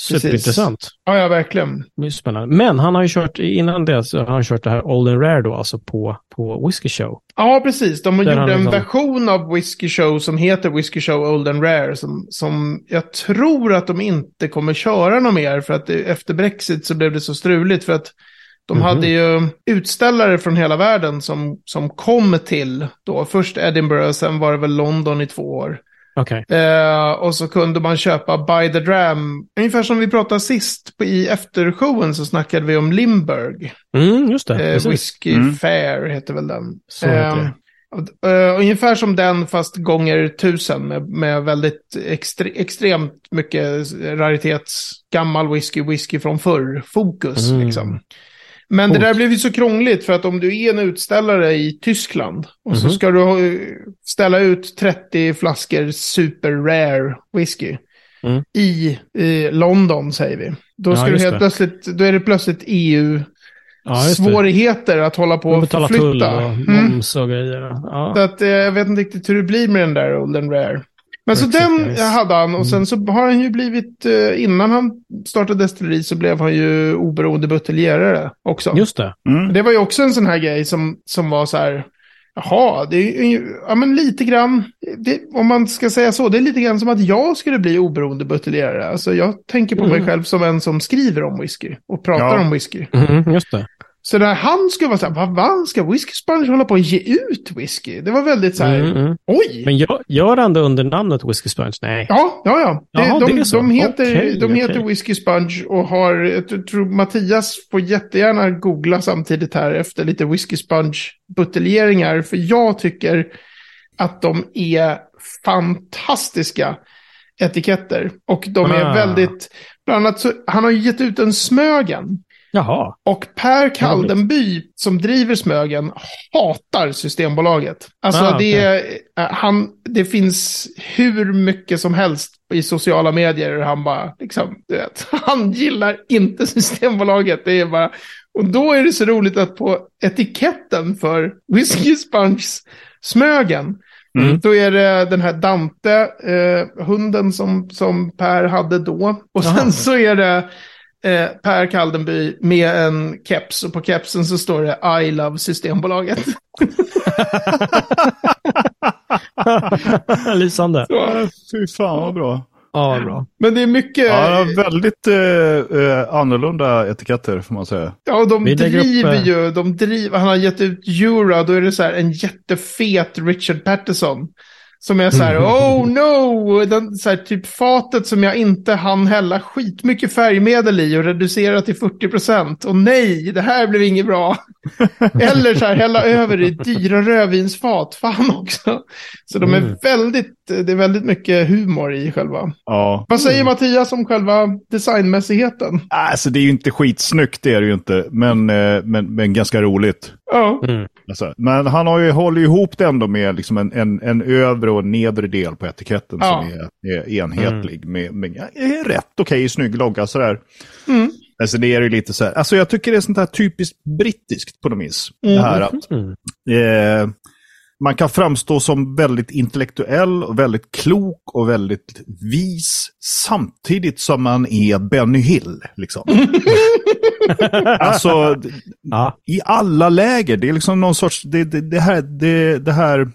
Speaker 1: Superintressant.
Speaker 2: Ja, ja, verkligen.
Speaker 1: Det är spännande. Men han har ju kört, innan det, så har han kört det här Old and Rare då, alltså på, på Whiskey Show.
Speaker 2: Ja, precis. De
Speaker 1: Där
Speaker 2: gjorde
Speaker 1: han
Speaker 2: en
Speaker 1: liksom-
Speaker 2: version av Whiskey Show som heter Whiskey Show Old and Rare. Som, som jag tror att de inte kommer köra något mer. För att det, efter Brexit så blev det så struligt. För att De
Speaker 1: Mhm.
Speaker 2: hade ju utställare från hela världen som, som kom till då. Först Edinburgh, sen var det väl London i två år.
Speaker 1: Okej.
Speaker 2: Eh, och så kunde man köpa By the Dram. Ungefär som vi pratade sist på, i eftershowen så snackade vi om Limburg.
Speaker 1: Mm, just det.
Speaker 2: Eh,
Speaker 1: Precis.
Speaker 2: Whiskey
Speaker 3: Mm.
Speaker 2: Fair heter väl den.
Speaker 1: Så heter
Speaker 2: Eh,
Speaker 1: det.
Speaker 2: och- eh, ungefär som den fast gånger tusen med, med väldigt extre, extremt mycket raritets, gammal whisky, whisky från förr, fokus
Speaker 1: Mm.
Speaker 2: liksom. Men det där blev ju så krångligt för att om du är en utställare i Tyskland och så
Speaker 1: Mhm.
Speaker 2: ska du ha- ställa ut 30 flaskor super rare whisky
Speaker 1: Mm.
Speaker 2: i eh, London säger vi. Då,
Speaker 1: Ja,
Speaker 2: ska du
Speaker 1: just
Speaker 2: helt
Speaker 1: det.
Speaker 2: plötsligt, då är det plötsligt E EU
Speaker 1: Ja, just det.
Speaker 2: svårigheter att hålla på
Speaker 1: De
Speaker 2: och
Speaker 1: betalar
Speaker 2: förflytta.
Speaker 1: tull och
Speaker 2: Mm.
Speaker 1: moms och grejer. Ja.
Speaker 2: Så att, eh, jag vet inte riktigt hur det blir med den där Olden Rare. Men så
Speaker 1: Exakt, Mm.
Speaker 2: den
Speaker 1: yes.
Speaker 2: hade han och sen så har han ju blivit, eh, innan han startade destilleri så blev han ju oberoende buteljerare också.
Speaker 1: Just det.
Speaker 3: Mm.
Speaker 2: Det var ju också en sån här grej som, som var så här, jaha, det är ju, ja men lite grann, det, om man ska säga så, det är lite grann som att jag skulle bli oberoende buteljerare. Alltså jag tänker på mig
Speaker 1: Mm.
Speaker 2: själv som en som skriver om whisky och pratar
Speaker 3: Ja.
Speaker 2: om whisky.
Speaker 1: Mm, just det.
Speaker 2: Så när han skulle vara så här, vad va, ska Whiskey Sponge hålla på att ge ut whisky? Det var väldigt så här,
Speaker 1: Mm, mm.
Speaker 2: oj!
Speaker 1: Men gör, gör han det under namnet Whiskey Sponge? Nej.
Speaker 2: Ja, ja, ja. Det,
Speaker 1: Jaha,
Speaker 2: de,
Speaker 1: det är så.
Speaker 2: de heter,
Speaker 1: Okej,
Speaker 2: de heter
Speaker 1: okej.
Speaker 2: Whiskey Sponge och har, jag tr- tror Mattias får jättegärna googla samtidigt här efter lite Whiskey Sponge-buteljeringar, för jag tycker att de är fantastiska etiketter. Och de är
Speaker 1: Ah.
Speaker 2: väldigt, bland annat så, han har ju gett ut en Smögen.
Speaker 1: Jaha.
Speaker 2: Och Per Kaldenby, som driver Smögen, hatar Systembolaget. Alltså,
Speaker 1: Ah,
Speaker 2: det, är- eh, han, det finns hur mycket som helst i sociala medier. där Han bara, liksom, du vet, han gillar inte Systembolaget. Det är bara, och då är det så roligt att på etiketten för Whiskey Sponges Smögen,
Speaker 3: Mm.
Speaker 2: då är det den här Dante, eh, hunden som, som Per hade då. Och sen
Speaker 1: Jaha.
Speaker 2: så är det eh, Per Kaldenby med en keps och på kepsen så står det I love Systembolaget.
Speaker 1: Lysande.
Speaker 2: Så.
Speaker 3: Ja, Fy fan vad bra.
Speaker 1: Ja, bra.
Speaker 2: Men det är mycket,
Speaker 3: Ja,
Speaker 2: ja,
Speaker 3: väldigt eh, eh, annorlunda etiketter får man säga.
Speaker 2: och de
Speaker 1: vi lägger upp,
Speaker 2: driver
Speaker 1: eh,
Speaker 2: ju, de driver, han har gett ut Jura, då är det så här en jättefet Richard Patterson. Som är så här, oh no, den, så här, typ fatet som jag inte hann hälla skitmycket färgmedel i och reducera till 40 procent. Och nej, det här blev inget bra. Eller så här, hälla över i dyra rödvinsfat, fan också. Så de är
Speaker 1: Mm.
Speaker 2: väldigt, det är väldigt mycket humor i själva.
Speaker 3: Ja.
Speaker 2: Vad säger Mattias om själva designmässigheten?
Speaker 3: Alltså det är ju inte skitsnyggt, det är det ju inte. Men, eh, men, men ganska roligt.
Speaker 2: Ja,
Speaker 3: Alltså, men han har ju, håller ju ihop det ändå med liksom en, en, en övre och en nedre del på etiketten
Speaker 2: Ja.
Speaker 3: som är, är enhetlig. Med, med, är rätt okej snygg logga sådär.
Speaker 2: Mm.
Speaker 3: Alltså det är ju lite så här, alltså jag tycker det är sånt här typiskt brittiskt på något vis. Det här att
Speaker 1: Mm.
Speaker 3: eh, man kan framstå som väldigt intellektuell och väldigt klok och väldigt vis samtidigt som man är Benny Hill. Liksom. alltså, d-
Speaker 1: Ja.
Speaker 3: i alla läger, det är liksom någon sorts, det, det, det, här, det, det här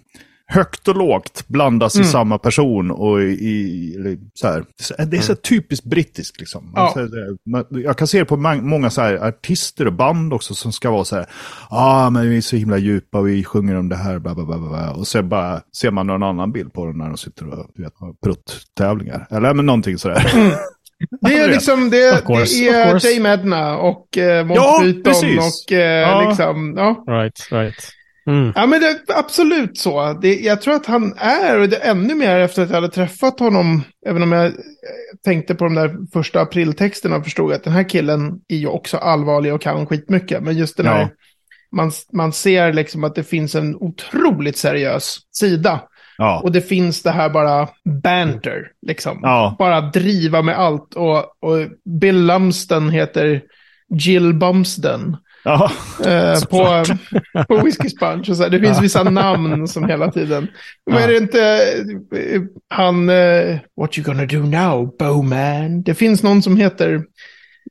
Speaker 3: högt och lågt blandas i samma person. Och i, i, eller så här. Det är så här typiskt brittiskt. Liksom.
Speaker 2: Ja.
Speaker 3: Alltså, det- man- Jag kan se det på mang- många så här artister och band också som ska vara så här, ah, men vi är så himla djupa, vi sjunger om det här, bla, bla, bla, bla, bla. och sen bara ser man någon annan bild på dem när de sitter och du vet, har prutttävlingar. Eller men någonting sådär.
Speaker 2: Det är
Speaker 3: vet.
Speaker 2: liksom, det,
Speaker 1: Of course,
Speaker 2: det är
Speaker 1: of course.
Speaker 2: Dame Edna och eh, Monty
Speaker 3: Ja,
Speaker 2: Python
Speaker 3: precis.
Speaker 2: och eh,
Speaker 3: Ja.
Speaker 2: liksom, ja.
Speaker 1: Right, right. Mm.
Speaker 2: Ja men det är absolut så. Det, jag tror att han är, och det är ännu mer efter att jag hade träffat honom, även om jag eh, tänkte på de där första apriltexterna och förstod att den här killen är ju också allvarlig och kan skitmycket. Men just den här,
Speaker 3: Ja.
Speaker 2: man, man ser liksom att det finns en otroligt seriös sida.
Speaker 3: Ja.
Speaker 2: Och det finns det här bara banter, liksom.
Speaker 3: Ja.
Speaker 2: Bara driva med allt. Och, och Bill Lumsden heter Jill Bumsden
Speaker 3: ja.
Speaker 2: eh, på, på Whiskey Sponge. Och så här. Det finns vissa namn som hela tiden. Men är det inte eh, han, eh, what you gonna do now, Bowman? Det finns någon som heter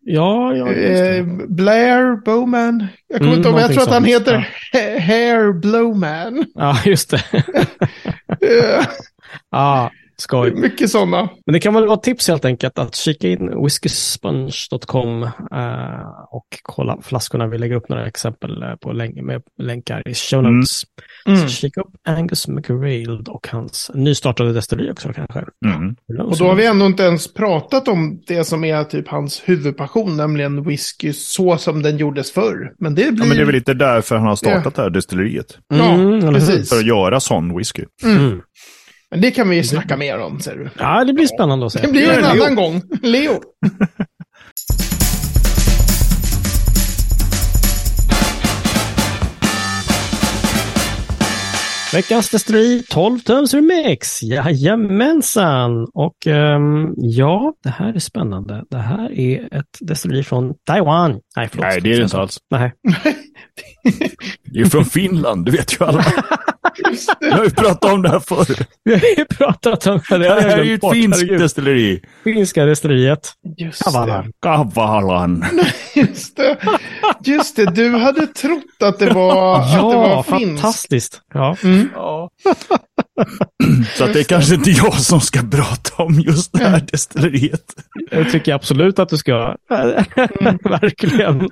Speaker 1: Ja, ja, just
Speaker 2: eh,
Speaker 1: det.
Speaker 2: Blair Bowman. Jag kommer
Speaker 1: Mm,
Speaker 2: inte ihåg, men jag
Speaker 1: någonting
Speaker 2: tror att han
Speaker 1: sånt.
Speaker 2: heter Ha- Hair Blowman.
Speaker 1: Ja, just det.
Speaker 2: Eh,
Speaker 1: Ja, Skoj.
Speaker 2: Mycket sådana.
Speaker 1: Men det kan väl vara tips helt enkelt att kika in whiskyspunge.com eh, och kolla flaskorna. Vi lägger upp några exempel eh, på län- med länkar i show notes.
Speaker 2: Mm.
Speaker 1: Så kika upp Angus McGrail och hans nystartade destilleri också kanske.
Speaker 3: Mm.
Speaker 2: Och då har vi ändå inte ens pratat om det som är typ hans huvudpassion, nämligen whisky så som den gjordes förr. Men det blir...
Speaker 3: Ja, men det är väl lite därför han har startat det här destilleriet.
Speaker 2: Ja,
Speaker 1: Mm, eller hur?
Speaker 2: precis.
Speaker 3: För att göra sån whisky.
Speaker 1: Mm.
Speaker 2: Men det kan vi ju snacka mer om, säger du.
Speaker 1: Ja, det blir spännande att se.
Speaker 2: Det blir ju en
Speaker 3: Ja, Leo.
Speaker 2: annan gång. Leo.
Speaker 1: Veckans destilleri 12 tums remix. Jajamensan! Och ehm, ja, det här är spännande. Det här är ett destilleri från Taiwan. Nej, förlåt.
Speaker 3: Nej, det är det inte alls.
Speaker 1: Nej.
Speaker 3: Det är från Finland, det vet ju alla. Vi har ju pratat om det här förr.
Speaker 1: Vi har ju pratat om det.
Speaker 3: Det
Speaker 1: har jag
Speaker 3: här är ju
Speaker 1: glömt
Speaker 3: ett
Speaker 1: bort.
Speaker 3: finskt
Speaker 1: Herregud.
Speaker 3: destilleri.
Speaker 1: Finska destilleriet.
Speaker 2: Just
Speaker 1: Kavalan.
Speaker 3: Kavalan.
Speaker 2: det. Just det. Just det, du hade trott att det var, att det
Speaker 1: Ja,
Speaker 2: var finskt.
Speaker 1: fantastiskt. Ja.
Speaker 2: Mm.
Speaker 3: Så att det är kanske inte jag som ska prata om just det här destilleriet.
Speaker 1: Det tycker jag absolut att du ska.
Speaker 2: Mm.
Speaker 1: Verkligen.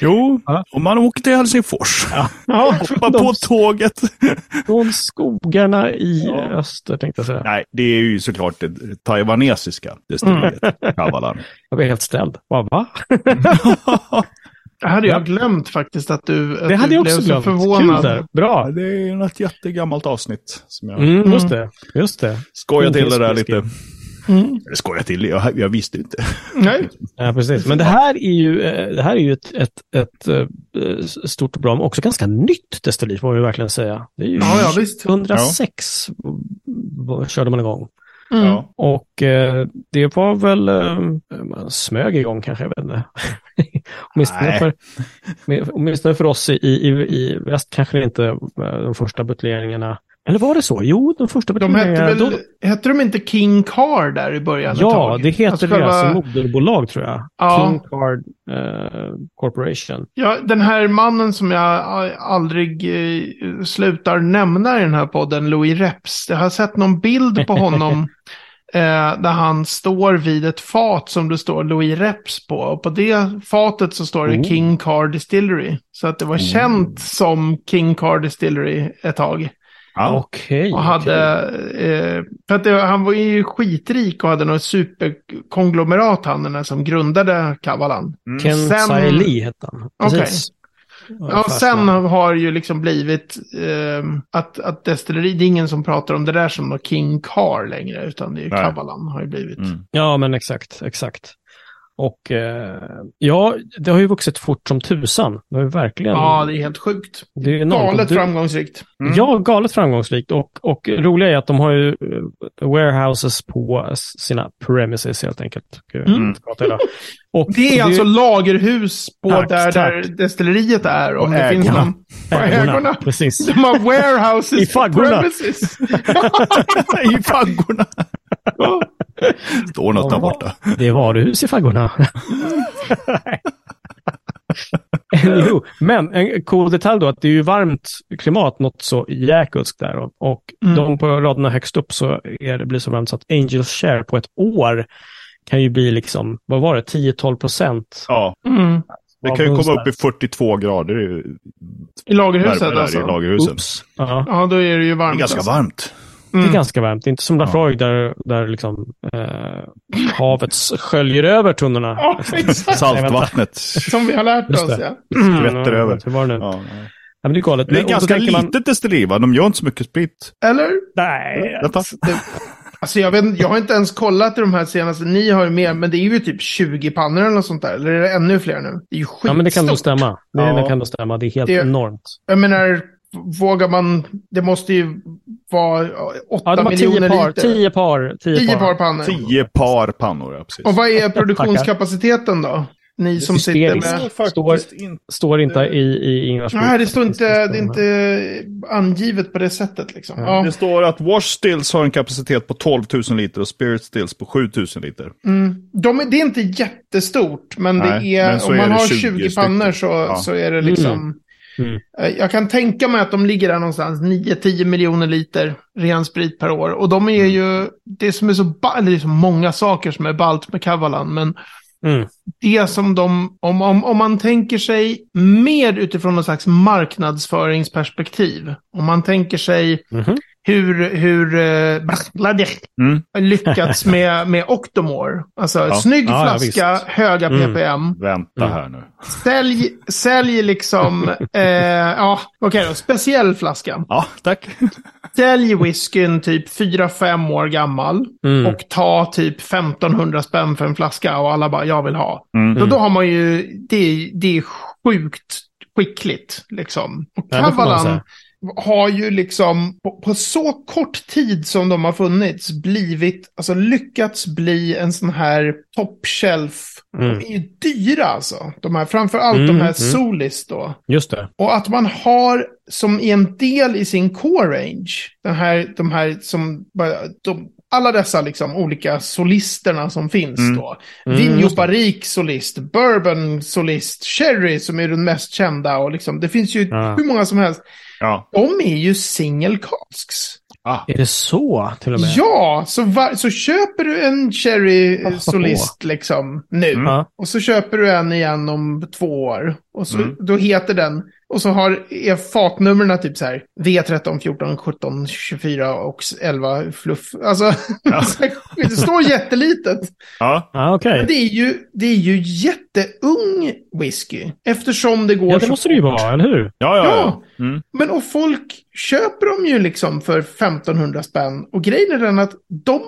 Speaker 3: Jo,
Speaker 1: Ja.
Speaker 3: om man åker till Helsingfors.
Speaker 1: Ja,
Speaker 3: Hoppa på tåget.
Speaker 1: från skogarna i
Speaker 3: Ja.
Speaker 1: öster tänkte jag säga.
Speaker 3: Nej, det är ju såklart det taiwanesiska destilleriet. Kavalan.
Speaker 1: Jag blev helt ställd. Bara, va?
Speaker 2: Det hade jag glömt faktiskt att du, att
Speaker 1: Det hade
Speaker 2: du
Speaker 1: jag
Speaker 2: blev
Speaker 1: också
Speaker 2: så
Speaker 1: glömt.
Speaker 2: förvånad.
Speaker 1: Kul där. Bra.
Speaker 3: Ja, det är ju något jättegammalt avsnitt som jag
Speaker 1: Mm, just det. Just det.
Speaker 3: skojar till det där
Speaker 1: Indisk
Speaker 3: lite.
Speaker 2: Mm.
Speaker 3: Eller skojar till, jag, jag visste inte.
Speaker 2: Nej,
Speaker 1: Ja, precis. Men det här är ju, eh, det här är ju ett, ett, ett eh, stort och bra, men också ganska nytt destilleri, får man ju verkligen säga. Det är ju
Speaker 2: ja, ja visst.
Speaker 1: Mm. 106 v- körde man igång.
Speaker 2: Mm.
Speaker 3: Ja.
Speaker 1: Och eh, det var väl, eh, man smög igång kanske, jag vet inte. åtminstone,
Speaker 3: Nej.
Speaker 1: för, med- åtminstone för oss i, i, i väst kanske det inte eh, de första buteljeringarna. Eller var det så? Jo, de första
Speaker 2: De hette
Speaker 1: buteljeringarna.
Speaker 2: väl,
Speaker 1: då-
Speaker 2: hette de inte King Car där i början? ett
Speaker 1: Ja,
Speaker 2: tag?
Speaker 1: det heter
Speaker 2: Alltså
Speaker 1: deras
Speaker 2: själva,
Speaker 1: moderbolag tror jag.
Speaker 2: Ja.
Speaker 1: King Card eh, Corporation.
Speaker 2: ja, Den här mannen som jag a- aldrig eh, slutar nämna i den här podden, Louis Reps. Jag har sett någon bild på honom eh, där han står vid ett fat som det står Louis Reps på. Och på det fatet så står det
Speaker 1: Oh.
Speaker 2: King Car Distillery. Så att det var känt som King Car Distillery ett tag.
Speaker 3: Ja.
Speaker 1: Okej.
Speaker 2: Och hade, eh, för att det, han var ju skitrik och hade något superkonglomerat han den där som grundade Kavalan.
Speaker 3: Mm.
Speaker 1: Ken
Speaker 2: sen-
Speaker 1: Tsai Lee hette han.
Speaker 2: Okej.
Speaker 1: Precis.
Speaker 2: Ja, sen har ju liksom blivit eh, att, att destilleri, det är ingen som pratar om det där som något King Car längre, utan det är ju
Speaker 3: Nej.
Speaker 2: Kavalan har ju blivit.
Speaker 3: Mm.
Speaker 1: Ja, men exakt, exakt. Och eh, ja, det har ju vuxit fort som tusan. Det har ju verkligen...
Speaker 2: Ja, det är helt sjukt.
Speaker 1: det är ju enormt.
Speaker 2: Galet
Speaker 1: Och du-
Speaker 2: framgångsrikt.
Speaker 3: Mm.
Speaker 1: Ja, galet framgångsrikt. Och, och roliga är att de har ju eh, warehouses på eh, sina premises helt enkelt. Gud, jag
Speaker 2: Mm.
Speaker 1: inte pratar idag. Och
Speaker 2: Det är alltså lagerhus på
Speaker 1: Tack,
Speaker 2: där, där
Speaker 1: tack.
Speaker 2: destilleriet är. Om
Speaker 3: Och
Speaker 2: det finns
Speaker 3: ägorna.
Speaker 2: någon... på ägorna.
Speaker 1: Precis.
Speaker 2: De har warehouses
Speaker 1: I
Speaker 2: på
Speaker 1: faggorna.
Speaker 2: premises.
Speaker 3: I faggorna. Står något där borta.
Speaker 1: Det är varuhus i faggorna. jo, men en cool detalj då att det är ju varmt klimat, något så jäkulskt där. Och, och
Speaker 2: Mm.
Speaker 1: de på raderna högst upp så är det, blir det så varmt så att Angels share på ett år kan ju bli liksom, vad var det, 10-12 procent?
Speaker 3: Ja,
Speaker 2: Mm.
Speaker 3: det kan ju komma upp i 42 grader i
Speaker 2: I
Speaker 3: värme
Speaker 2: lagerhuset
Speaker 3: där
Speaker 2: alltså.
Speaker 3: i lagerhusen.
Speaker 1: Oops. Ja.
Speaker 2: Ja, då är det ju
Speaker 3: Det är
Speaker 2: varmt.
Speaker 3: ganska
Speaker 2: alltså.
Speaker 3: varmt.
Speaker 1: Det är
Speaker 2: Mm.
Speaker 1: ganska varmt. Det är inte som Lafroig där, där liksom, eh, havet sköljer över tunnorna.
Speaker 2: Ja, exakt.
Speaker 3: Saltvattnet.
Speaker 2: Som vi har lärt
Speaker 1: Just
Speaker 2: oss,
Speaker 1: det.
Speaker 2: ja.
Speaker 3: skvätter
Speaker 1: Ja,
Speaker 3: över.
Speaker 1: Liksom, Hur var det nu? Ja.
Speaker 3: Ja.
Speaker 1: men det är galet.
Speaker 3: Det är
Speaker 1: Och då
Speaker 3: ganska
Speaker 1: tänker man-
Speaker 3: litet destilleri, va? De gör inte så mycket sprit.
Speaker 2: Eller?
Speaker 1: Nej,
Speaker 3: Vänta.
Speaker 2: Det, alltså jag, vet, inte- jag har inte ens kollat i de här senaste. Ni har ju mer, men det är ju typ 20 pannor eller något sånt där. Eller är det ännu fler nu? Det är ju skitstort.
Speaker 1: Ja, men det kan nog stämma. Det,
Speaker 3: Ja.
Speaker 1: det kan nog stämma. Det är helt
Speaker 2: Det-
Speaker 1: enormt.
Speaker 2: Jag menar, vågar man... Det måste ju vara 8
Speaker 1: Ja, det var tio
Speaker 2: miljoner
Speaker 1: par,
Speaker 2: liter.
Speaker 1: tio par. Tio,
Speaker 2: 10 par
Speaker 1: par.
Speaker 2: pannor.
Speaker 3: Tio par pannor, ja, precis.
Speaker 2: Och vad är produktionskapaciteten då? Ni som sitter
Speaker 1: Hysteriskt.
Speaker 2: med...
Speaker 1: Står-
Speaker 3: inte.
Speaker 1: Står inte i, i Ingvars bok.
Speaker 2: Nej, det står inte, det är inte angivet på det sättet liksom. Ja.
Speaker 3: Det står att Wash Stills har en kapacitet på 12 000 liter och Spirit Stills på 7 000 liter.
Speaker 2: Mm. De är, det är inte jättestort, men
Speaker 3: Nej,
Speaker 2: det är,
Speaker 3: men så
Speaker 2: om
Speaker 3: är
Speaker 2: man
Speaker 3: det
Speaker 2: har
Speaker 3: 20
Speaker 2: 20 pannor så,
Speaker 3: stycken. Ja.
Speaker 2: så är det liksom...
Speaker 1: Mm.
Speaker 2: Eh, Jag kan tänka mig att de ligger där någonstans 9-10 miljoner liter ren sprit per år. Och de är
Speaker 1: Mm.
Speaker 2: ju, det som är så, ba- eller det är så många saker som är ballt med Kavalan, men
Speaker 1: Mm.
Speaker 2: det som de, om, om, om man tänker sig mer utifrån någon slags marknadsföringsperspektiv, om man tänker sig
Speaker 1: Mhm.
Speaker 2: hur, hur eh, Bangladesh
Speaker 3: Mm.
Speaker 2: har lyckats med, med Octomore. Alltså,
Speaker 3: Ja.
Speaker 2: snygg
Speaker 1: Ja, ja,
Speaker 2: flaska,
Speaker 1: visst.
Speaker 2: höga
Speaker 1: Mm.
Speaker 2: ppm.
Speaker 3: Vänta
Speaker 1: Mm.
Speaker 3: här nu.
Speaker 2: Sälj, sälj liksom, eh, ja, okej då, speciell flaska.
Speaker 3: Ja, tack.
Speaker 2: Sälj whiskyn typ 4-5 år gammal
Speaker 1: Mm.
Speaker 2: och ta typ 1500 spänn för en flaska och alla bara, jag vill ha.
Speaker 3: Mm.
Speaker 2: Då, då har man ju, det, är- det är sjukt skickligt liksom. Och
Speaker 1: Ja, det får man
Speaker 2: Kavalan
Speaker 1: säga.
Speaker 2: har ju liksom på, på så kort tid som de har funnits blivit, alltså lyckats bli en sån här top shelf.
Speaker 1: Mm.
Speaker 2: De är ju dyra alltså, de här, framför allt de
Speaker 1: Mm,
Speaker 2: här
Speaker 1: mm.
Speaker 2: Solis då.
Speaker 1: Just det.
Speaker 2: Och att man har som i en del i sin core range, den här, de här som, bara- de, alla dessa liksom olika solisterna som finns
Speaker 3: Mm.
Speaker 2: då.
Speaker 1: Mm,
Speaker 2: Vigno
Speaker 1: just det.
Speaker 2: Barrique solist, Bourbon solist, Sherry som är den mest kända och liksom, det finns ju
Speaker 1: Ja.
Speaker 2: hur många som helst.
Speaker 3: Ja.
Speaker 2: De är ju single casks.
Speaker 3: Ah.
Speaker 1: Är det så till och med?
Speaker 2: Ja, så, var, så köper du en Cherry eh, Solist liksom nu.
Speaker 3: Mm.
Speaker 1: Ja.
Speaker 2: Och så köper du en igen om två år. Och så,
Speaker 3: Mm.
Speaker 2: då heter den, och så har, är fatnumren typ så här V13, 14, 17, 24 och 11 fluff. Alltså,
Speaker 3: Ja.
Speaker 2: det står jättelitet.
Speaker 3: Ja.
Speaker 1: Ja, Ah, okej.
Speaker 2: Men det är ju, det är ju jätteung whisky. Eftersom det går
Speaker 1: Ja,
Speaker 2: så
Speaker 1: det måste det ju
Speaker 2: fort.
Speaker 1: vara, eller hur?
Speaker 3: Ja, ja, ja.
Speaker 2: Ja.
Speaker 3: Mm.
Speaker 2: Men och folk köper dem ju liksom för 1500 spänn. Och grejen är den att de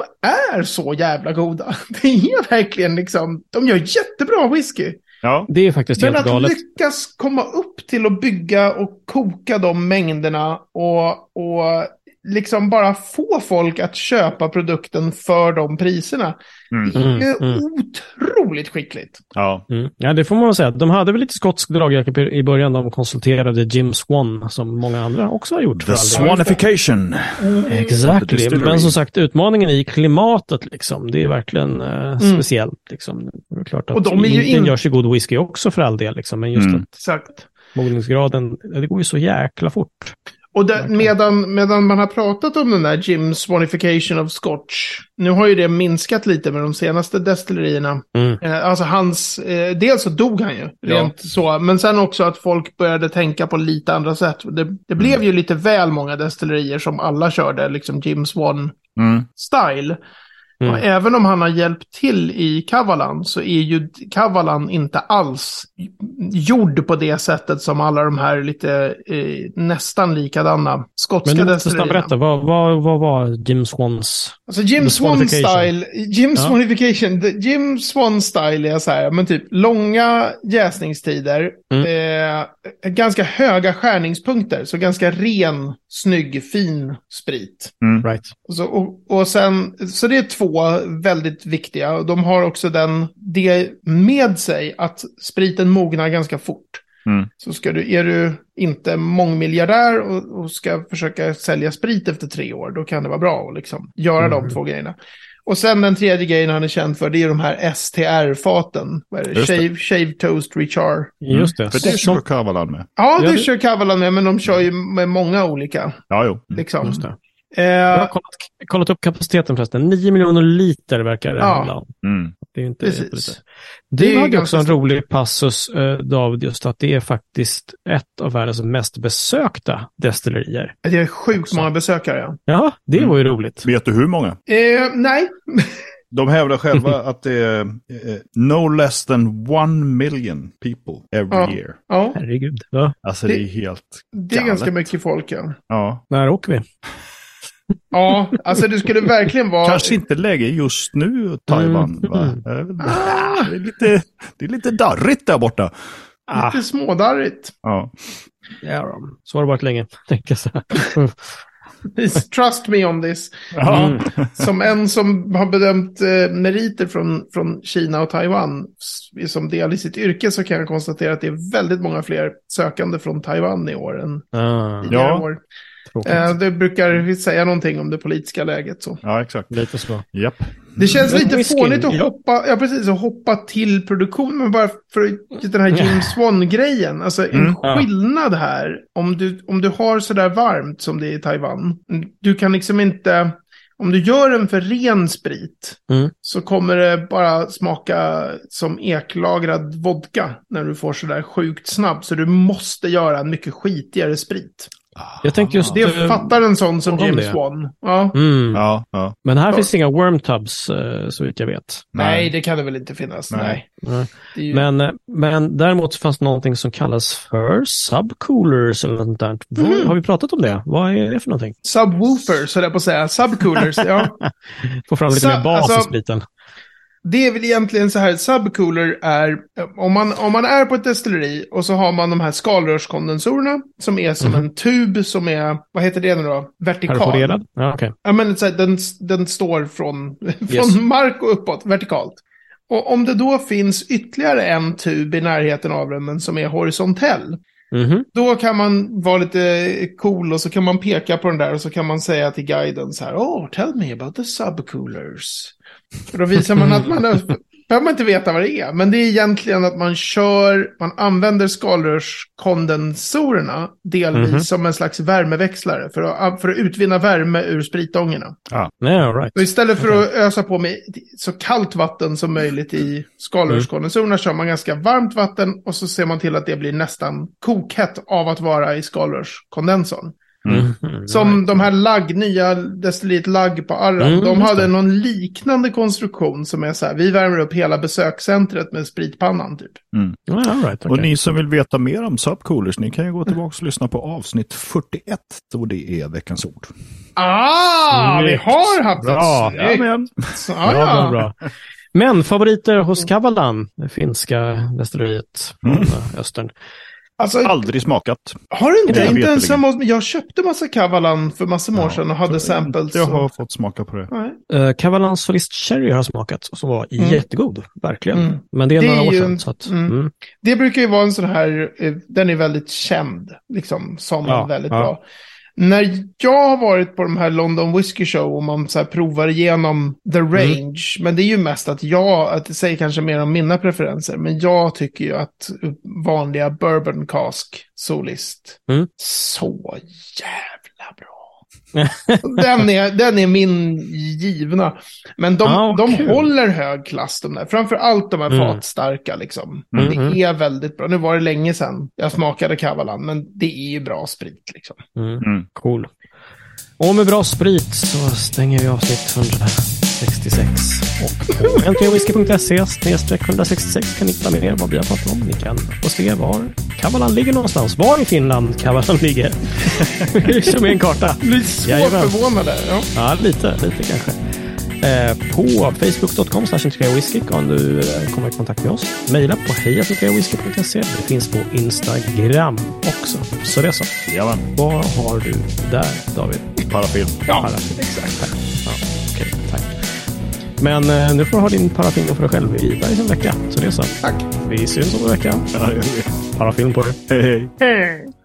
Speaker 2: är så jävla goda. Det är verkligen liksom, de gör jättebra whisky.
Speaker 3: ja.
Speaker 1: Det är faktiskt
Speaker 2: Men
Speaker 1: helt
Speaker 2: att
Speaker 1: galet.
Speaker 2: lyckas komma upp till att bygga och koka de mängderna och, och liksom bara få folk att köpa produkten för de priserna.
Speaker 3: Mm.
Speaker 2: Det är ju
Speaker 1: Mm, mm.
Speaker 2: otroligt skickligt.
Speaker 3: ja.
Speaker 1: Mm. Ja, det får man väl säga. De hade väl lite skotsk dragjacka i- i början. De konsulterade Jim Swan, som många andra också har gjort. för
Speaker 3: The
Speaker 1: all del.
Speaker 3: swanification.
Speaker 1: Eh,
Speaker 3: The
Speaker 1: Exactly.
Speaker 3: distillery.
Speaker 1: Men som sagt, utmaningen i klimatet, liksom, det är verkligen eh, speciellt. Liksom. Det är klart att
Speaker 2: Mm. Och de är ju
Speaker 1: Indien
Speaker 2: in-
Speaker 1: görs ju god whisky också för all del, liksom. men just
Speaker 3: Mm.
Speaker 1: att
Speaker 2: Exakt.
Speaker 1: mogningsgraden, det går ju så jäkla fort.
Speaker 2: Och där,
Speaker 1: Verkligen.
Speaker 2: medan, medan man har pratat om den där Jim Swanification of Scotch, nu har ju det minskat lite med de senaste destillerierna.
Speaker 1: Mm.
Speaker 2: Eh, alltså hans, eh, dels så dog han ju,
Speaker 3: Ja.
Speaker 2: rent så, men sen också att folk började tänka på lite andra sätt. Det, det blev ju lite väl många destillerier som alla körde, liksom Jim Swan
Speaker 3: Mm.
Speaker 2: style.
Speaker 1: Mm.
Speaker 2: Och även om han har hjälpt till i Kavalan så är ju Kavalan inte alls gjord på det sättet som alla de här lite eh, nästan likadana
Speaker 1: Men
Speaker 2: skotska
Speaker 1: du måste snabbt
Speaker 2: destillerierna.
Speaker 1: berätta, vad, vad, vad var Jim Swans?
Speaker 2: Alltså Jim
Speaker 1: The
Speaker 2: Swan
Speaker 1: Swanification.
Speaker 2: style, Jim
Speaker 1: Ja.
Speaker 2: Swanification, the Jim Swan style är så här, men typ långa jäsningstider,
Speaker 1: Mm.
Speaker 2: eh, ganska höga skärningspunkter, så ganska ren, snygg, fin sprit.
Speaker 3: Mm.
Speaker 1: Right.
Speaker 2: Så, och, och sen, så det är två väldigt viktiga. Och De har också den, det med sig att spriten mognar ganska fort.
Speaker 3: Mm.
Speaker 2: Så ska du, är du inte mångmiljardär och, och ska försöka sälja sprit efter tre år, då kan det vara bra att liksom göra de två grejerna. Och sen den tredje grejen han är känd för, det är de här STR-faten. Vad är det?
Speaker 3: Just det.
Speaker 2: Shave, shave Toast Richard.
Speaker 1: Just det.
Speaker 3: För det
Speaker 1: Som-
Speaker 3: kör Kavalan med.
Speaker 2: Ja,
Speaker 1: Ja,
Speaker 2: det
Speaker 1: det-
Speaker 2: kör Kavalan med, men de kör ju med många olika.
Speaker 3: Ja, jo. Mm.
Speaker 2: Liksom.
Speaker 1: Just det. Jag
Speaker 2: Eh,
Speaker 1: har kollat, kollat upp kapaciteten förresten. 9 miljoner liter verkar det
Speaker 2: Ja.
Speaker 1: handla om.
Speaker 3: Mm.
Speaker 1: Det är ju inte
Speaker 2: Precis.
Speaker 1: jättelite.
Speaker 2: Det är
Speaker 1: Du
Speaker 2: ju
Speaker 1: hade också
Speaker 2: ganska
Speaker 1: en
Speaker 2: stort.
Speaker 1: rolig passus, eh, David, just att det är faktiskt ett av världens mest besökta destillerier.
Speaker 2: det är sjukt
Speaker 1: Också.
Speaker 2: många besökare.
Speaker 1: Ja, det
Speaker 3: Mm.
Speaker 1: var ju roligt.
Speaker 3: Vet du hur många?
Speaker 2: Eh, nej,
Speaker 3: De hävdar själva att det är eh, no less than one million people every
Speaker 2: Ja.
Speaker 3: year.
Speaker 2: Ja,
Speaker 1: Herregud. Ja.
Speaker 3: Alltså det är
Speaker 2: Det-
Speaker 3: helt...
Speaker 2: det är
Speaker 3: Galet.
Speaker 2: ganska mycket folk. Ja,
Speaker 3: Ja.
Speaker 1: När åker vi?
Speaker 2: ja alltså det skulle verkligen vara...
Speaker 3: Kanske inte läge just nu, Taiwan.
Speaker 1: Mm.
Speaker 3: Va? Jag vet inte.
Speaker 2: Ah,
Speaker 3: Det, är lite, det är lite darrigt där borta.
Speaker 1: Ah,
Speaker 2: Lite smådarrigt.
Speaker 3: Ja.
Speaker 1: ja, då. så har det varit länge. Tänker jag så här. Mm.
Speaker 2: Trust me on this.
Speaker 3: Ja.
Speaker 1: Mm.
Speaker 2: Som en som har bedömt eh, meriter från, från Kina och Taiwan s- som del i sitt yrke så kan jag konstatera att det är väldigt många fler sökande från Taiwan i år än
Speaker 1: Ah.
Speaker 2: tidigare
Speaker 3: Ja.
Speaker 2: år.
Speaker 1: Tråkigt.
Speaker 2: Eh, det brukar säga någonting om det politiska läget. Så.
Speaker 3: Ja, exakt.
Speaker 1: Lite så.
Speaker 3: Japp.
Speaker 2: Det känns
Speaker 1: Men
Speaker 2: lite
Speaker 1: whisky,
Speaker 2: fånigt att
Speaker 1: ja.
Speaker 2: hoppa, ja, precis, att hoppa till produktion, men bara för just den här Jim Swan-grejen. Alltså en
Speaker 3: Mm.
Speaker 1: Ja.
Speaker 2: skillnad här, om du, om du har sådär varmt som det är i Taiwan, du kan liksom inte, om du gör en för ren sprit,
Speaker 1: Mm.
Speaker 2: så kommer det bara smaka som eklagrad vodka när du får sådär sjukt snabb. Så du måste göra en mycket skitigare sprit.
Speaker 3: Ah,
Speaker 1: Jag tänkte just-
Speaker 2: Det
Speaker 1: Eh,
Speaker 2: fattar en sån som
Speaker 1: om
Speaker 2: James
Speaker 1: det.
Speaker 2: Wan. Ja.
Speaker 1: Mm.
Speaker 3: Ja, ja.
Speaker 1: Men här finns inga wormtubs eh, så vitt jag vet.
Speaker 2: Nej, det kan det väl inte finnas.
Speaker 3: Nej.
Speaker 2: Nej.
Speaker 1: Nej.
Speaker 2: Det är ju-
Speaker 1: Men, eh, men däremot så fanns det någonting som kallas för subcoolers eller något sånt där. Vad-
Speaker 2: Mhm.
Speaker 1: Har vi pratat om det? Vad är det för någonting?
Speaker 2: Subwoofers, höll jag på att säga. Subcoolers, ja.
Speaker 1: Få fram lite
Speaker 2: Sa-
Speaker 1: mer bas i
Speaker 2: alltså-
Speaker 1: spriten.
Speaker 2: Det är väl egentligen så här, subcooler är, om man, om man är på ett destilleri och så har man de här skalrörskondensorerna som är som en tub som är, vad heter det nu då? Vertikal.
Speaker 1: Perforerad? Ja, okej.
Speaker 2: Ja, men så här, den, den står från,
Speaker 1: Yes.
Speaker 2: från mark och uppåt, vertikalt. Och om det då finns ytterligare en tub i närheten av den men som är horisontell,
Speaker 1: Mhm.
Speaker 2: då kan man vara lite cool och så kan man peka på den där och så kan man säga till guiden så här, oh, tell me about the subcoolers. Och då visar man att man, behöver man inte veta vad det är, men det är egentligen att man kör, man använder skalrörskondensorerna delvis
Speaker 1: Mhm.
Speaker 2: som en slags värmeväxlare för att, för att utvinna värme ur spritångorna.
Speaker 1: Nej, all right.
Speaker 2: Och istället för att ösa på med så kallt vatten som möjligt i skalrörskondensorerna kör man ganska varmt vatten och så ser man till att det blir nästan kokhett av att vara i skalrörskondensorn.
Speaker 1: Mhm.
Speaker 2: Som de här lagg, nya destilleriet lagg på Arran,
Speaker 1: Mm,
Speaker 2: de
Speaker 1: just
Speaker 2: hade
Speaker 1: det.
Speaker 2: någon liknande konstruktion som är så här, vi värmer upp hela besökscentret med spritpannan typ.
Speaker 1: Ja, all right.
Speaker 3: Och
Speaker 1: okej.
Speaker 3: ni som vill veta mer om subcoolers, ni kan ju gå tillbaka och lyssna på avsnitt 41, då det är veckans ord.
Speaker 2: Ah, vi
Speaker 1: Snyggt.
Speaker 2: har haft
Speaker 3: Alltså,
Speaker 1: Bra.
Speaker 2: det! Snyggt!
Speaker 3: Jajamän.
Speaker 2: Ah,
Speaker 1: Bra, bra,
Speaker 2: ja.
Speaker 1: bra. Men favoriter hos Kavalan, det finska destilleriet från
Speaker 3: Mm.
Speaker 1: eh, östern.
Speaker 2: Alltså,
Speaker 3: Aldrig smakat.
Speaker 2: har du inte,
Speaker 3: Jag vet
Speaker 2: inte ens
Speaker 3: inte.
Speaker 2: hemma hos mig? Jag köpte massa Kavalan för massor med år
Speaker 3: Ja,
Speaker 2: sedan och hade samples.
Speaker 3: Jag
Speaker 2: och-
Speaker 3: har fått smaka på det.
Speaker 2: Nej.
Speaker 1: Eh, Kavalans Solist Cherry har jag smakat och som var
Speaker 2: Mm.
Speaker 1: jättegod, verkligen.
Speaker 2: Mm.
Speaker 1: Men det är
Speaker 2: Det är
Speaker 1: några år
Speaker 2: ju-
Speaker 1: sedan. Så att,
Speaker 2: mm.
Speaker 1: mm.
Speaker 2: Det brukar ju vara en sån här, eh, den är väldigt känd, liksom, som
Speaker 1: Ja,
Speaker 2: en väldigt
Speaker 1: ja.
Speaker 2: bra. När jag har varit på de här London Whiskey Show och man så här provar igenom the
Speaker 1: Mm.
Speaker 2: range, men det är ju mest att jag, att det säger kanske mer om mina preferenser, men jag tycker ju att vanliga bourbon cask solist,
Speaker 1: Mm.
Speaker 2: så jävla bra. den, är, den är min givna. Men de,
Speaker 1: Ah, vad
Speaker 2: de
Speaker 1: kul.
Speaker 2: håller hög klass de där, framför allt de här
Speaker 1: Mm.
Speaker 2: fatstarka liksom.
Speaker 1: Mm,
Speaker 2: Det
Speaker 1: mm.
Speaker 2: är väldigt bra. Nu var det länge sedan jag smakade Kavalan, men det är ju bra sprit liksom.
Speaker 1: Mm.
Speaker 3: Mm.
Speaker 1: Cool. Och med bra sprit så stänger vi avsnitt 166. Och på ntwhisky.se snedstreck 166 kan ni hitta mer vad vi har pratat om. Ni kan få se var Kavalan ligger någonstans. Var i Finland Kavalan ligger. Kör med en karta.
Speaker 2: Blir så
Speaker 1: Jajamän.
Speaker 2: förvånade. Ja.
Speaker 1: Ja, lite, lite kanske. Eh, på facebook.com whisky kan du eh, komma i kontakt med oss. Mejla på hejatentwhisky.se. Det finns på Instagram också. Så det är så.
Speaker 3: Jajamän.
Speaker 1: Vad har du där, David?
Speaker 3: Parafilm.
Speaker 2: Ja,
Speaker 1: Paraffin.
Speaker 2: exakt.
Speaker 1: Ja, okej, tack. Men eh, nu får du ha din paraffin då för dig själv i bergs en vecka. Så det är så.
Speaker 2: Tack.
Speaker 1: Vi syns om en vecka.
Speaker 3: Ja, jag vet.
Speaker 1: Paraffin på dig.
Speaker 3: Hej, hej.
Speaker 2: Hej.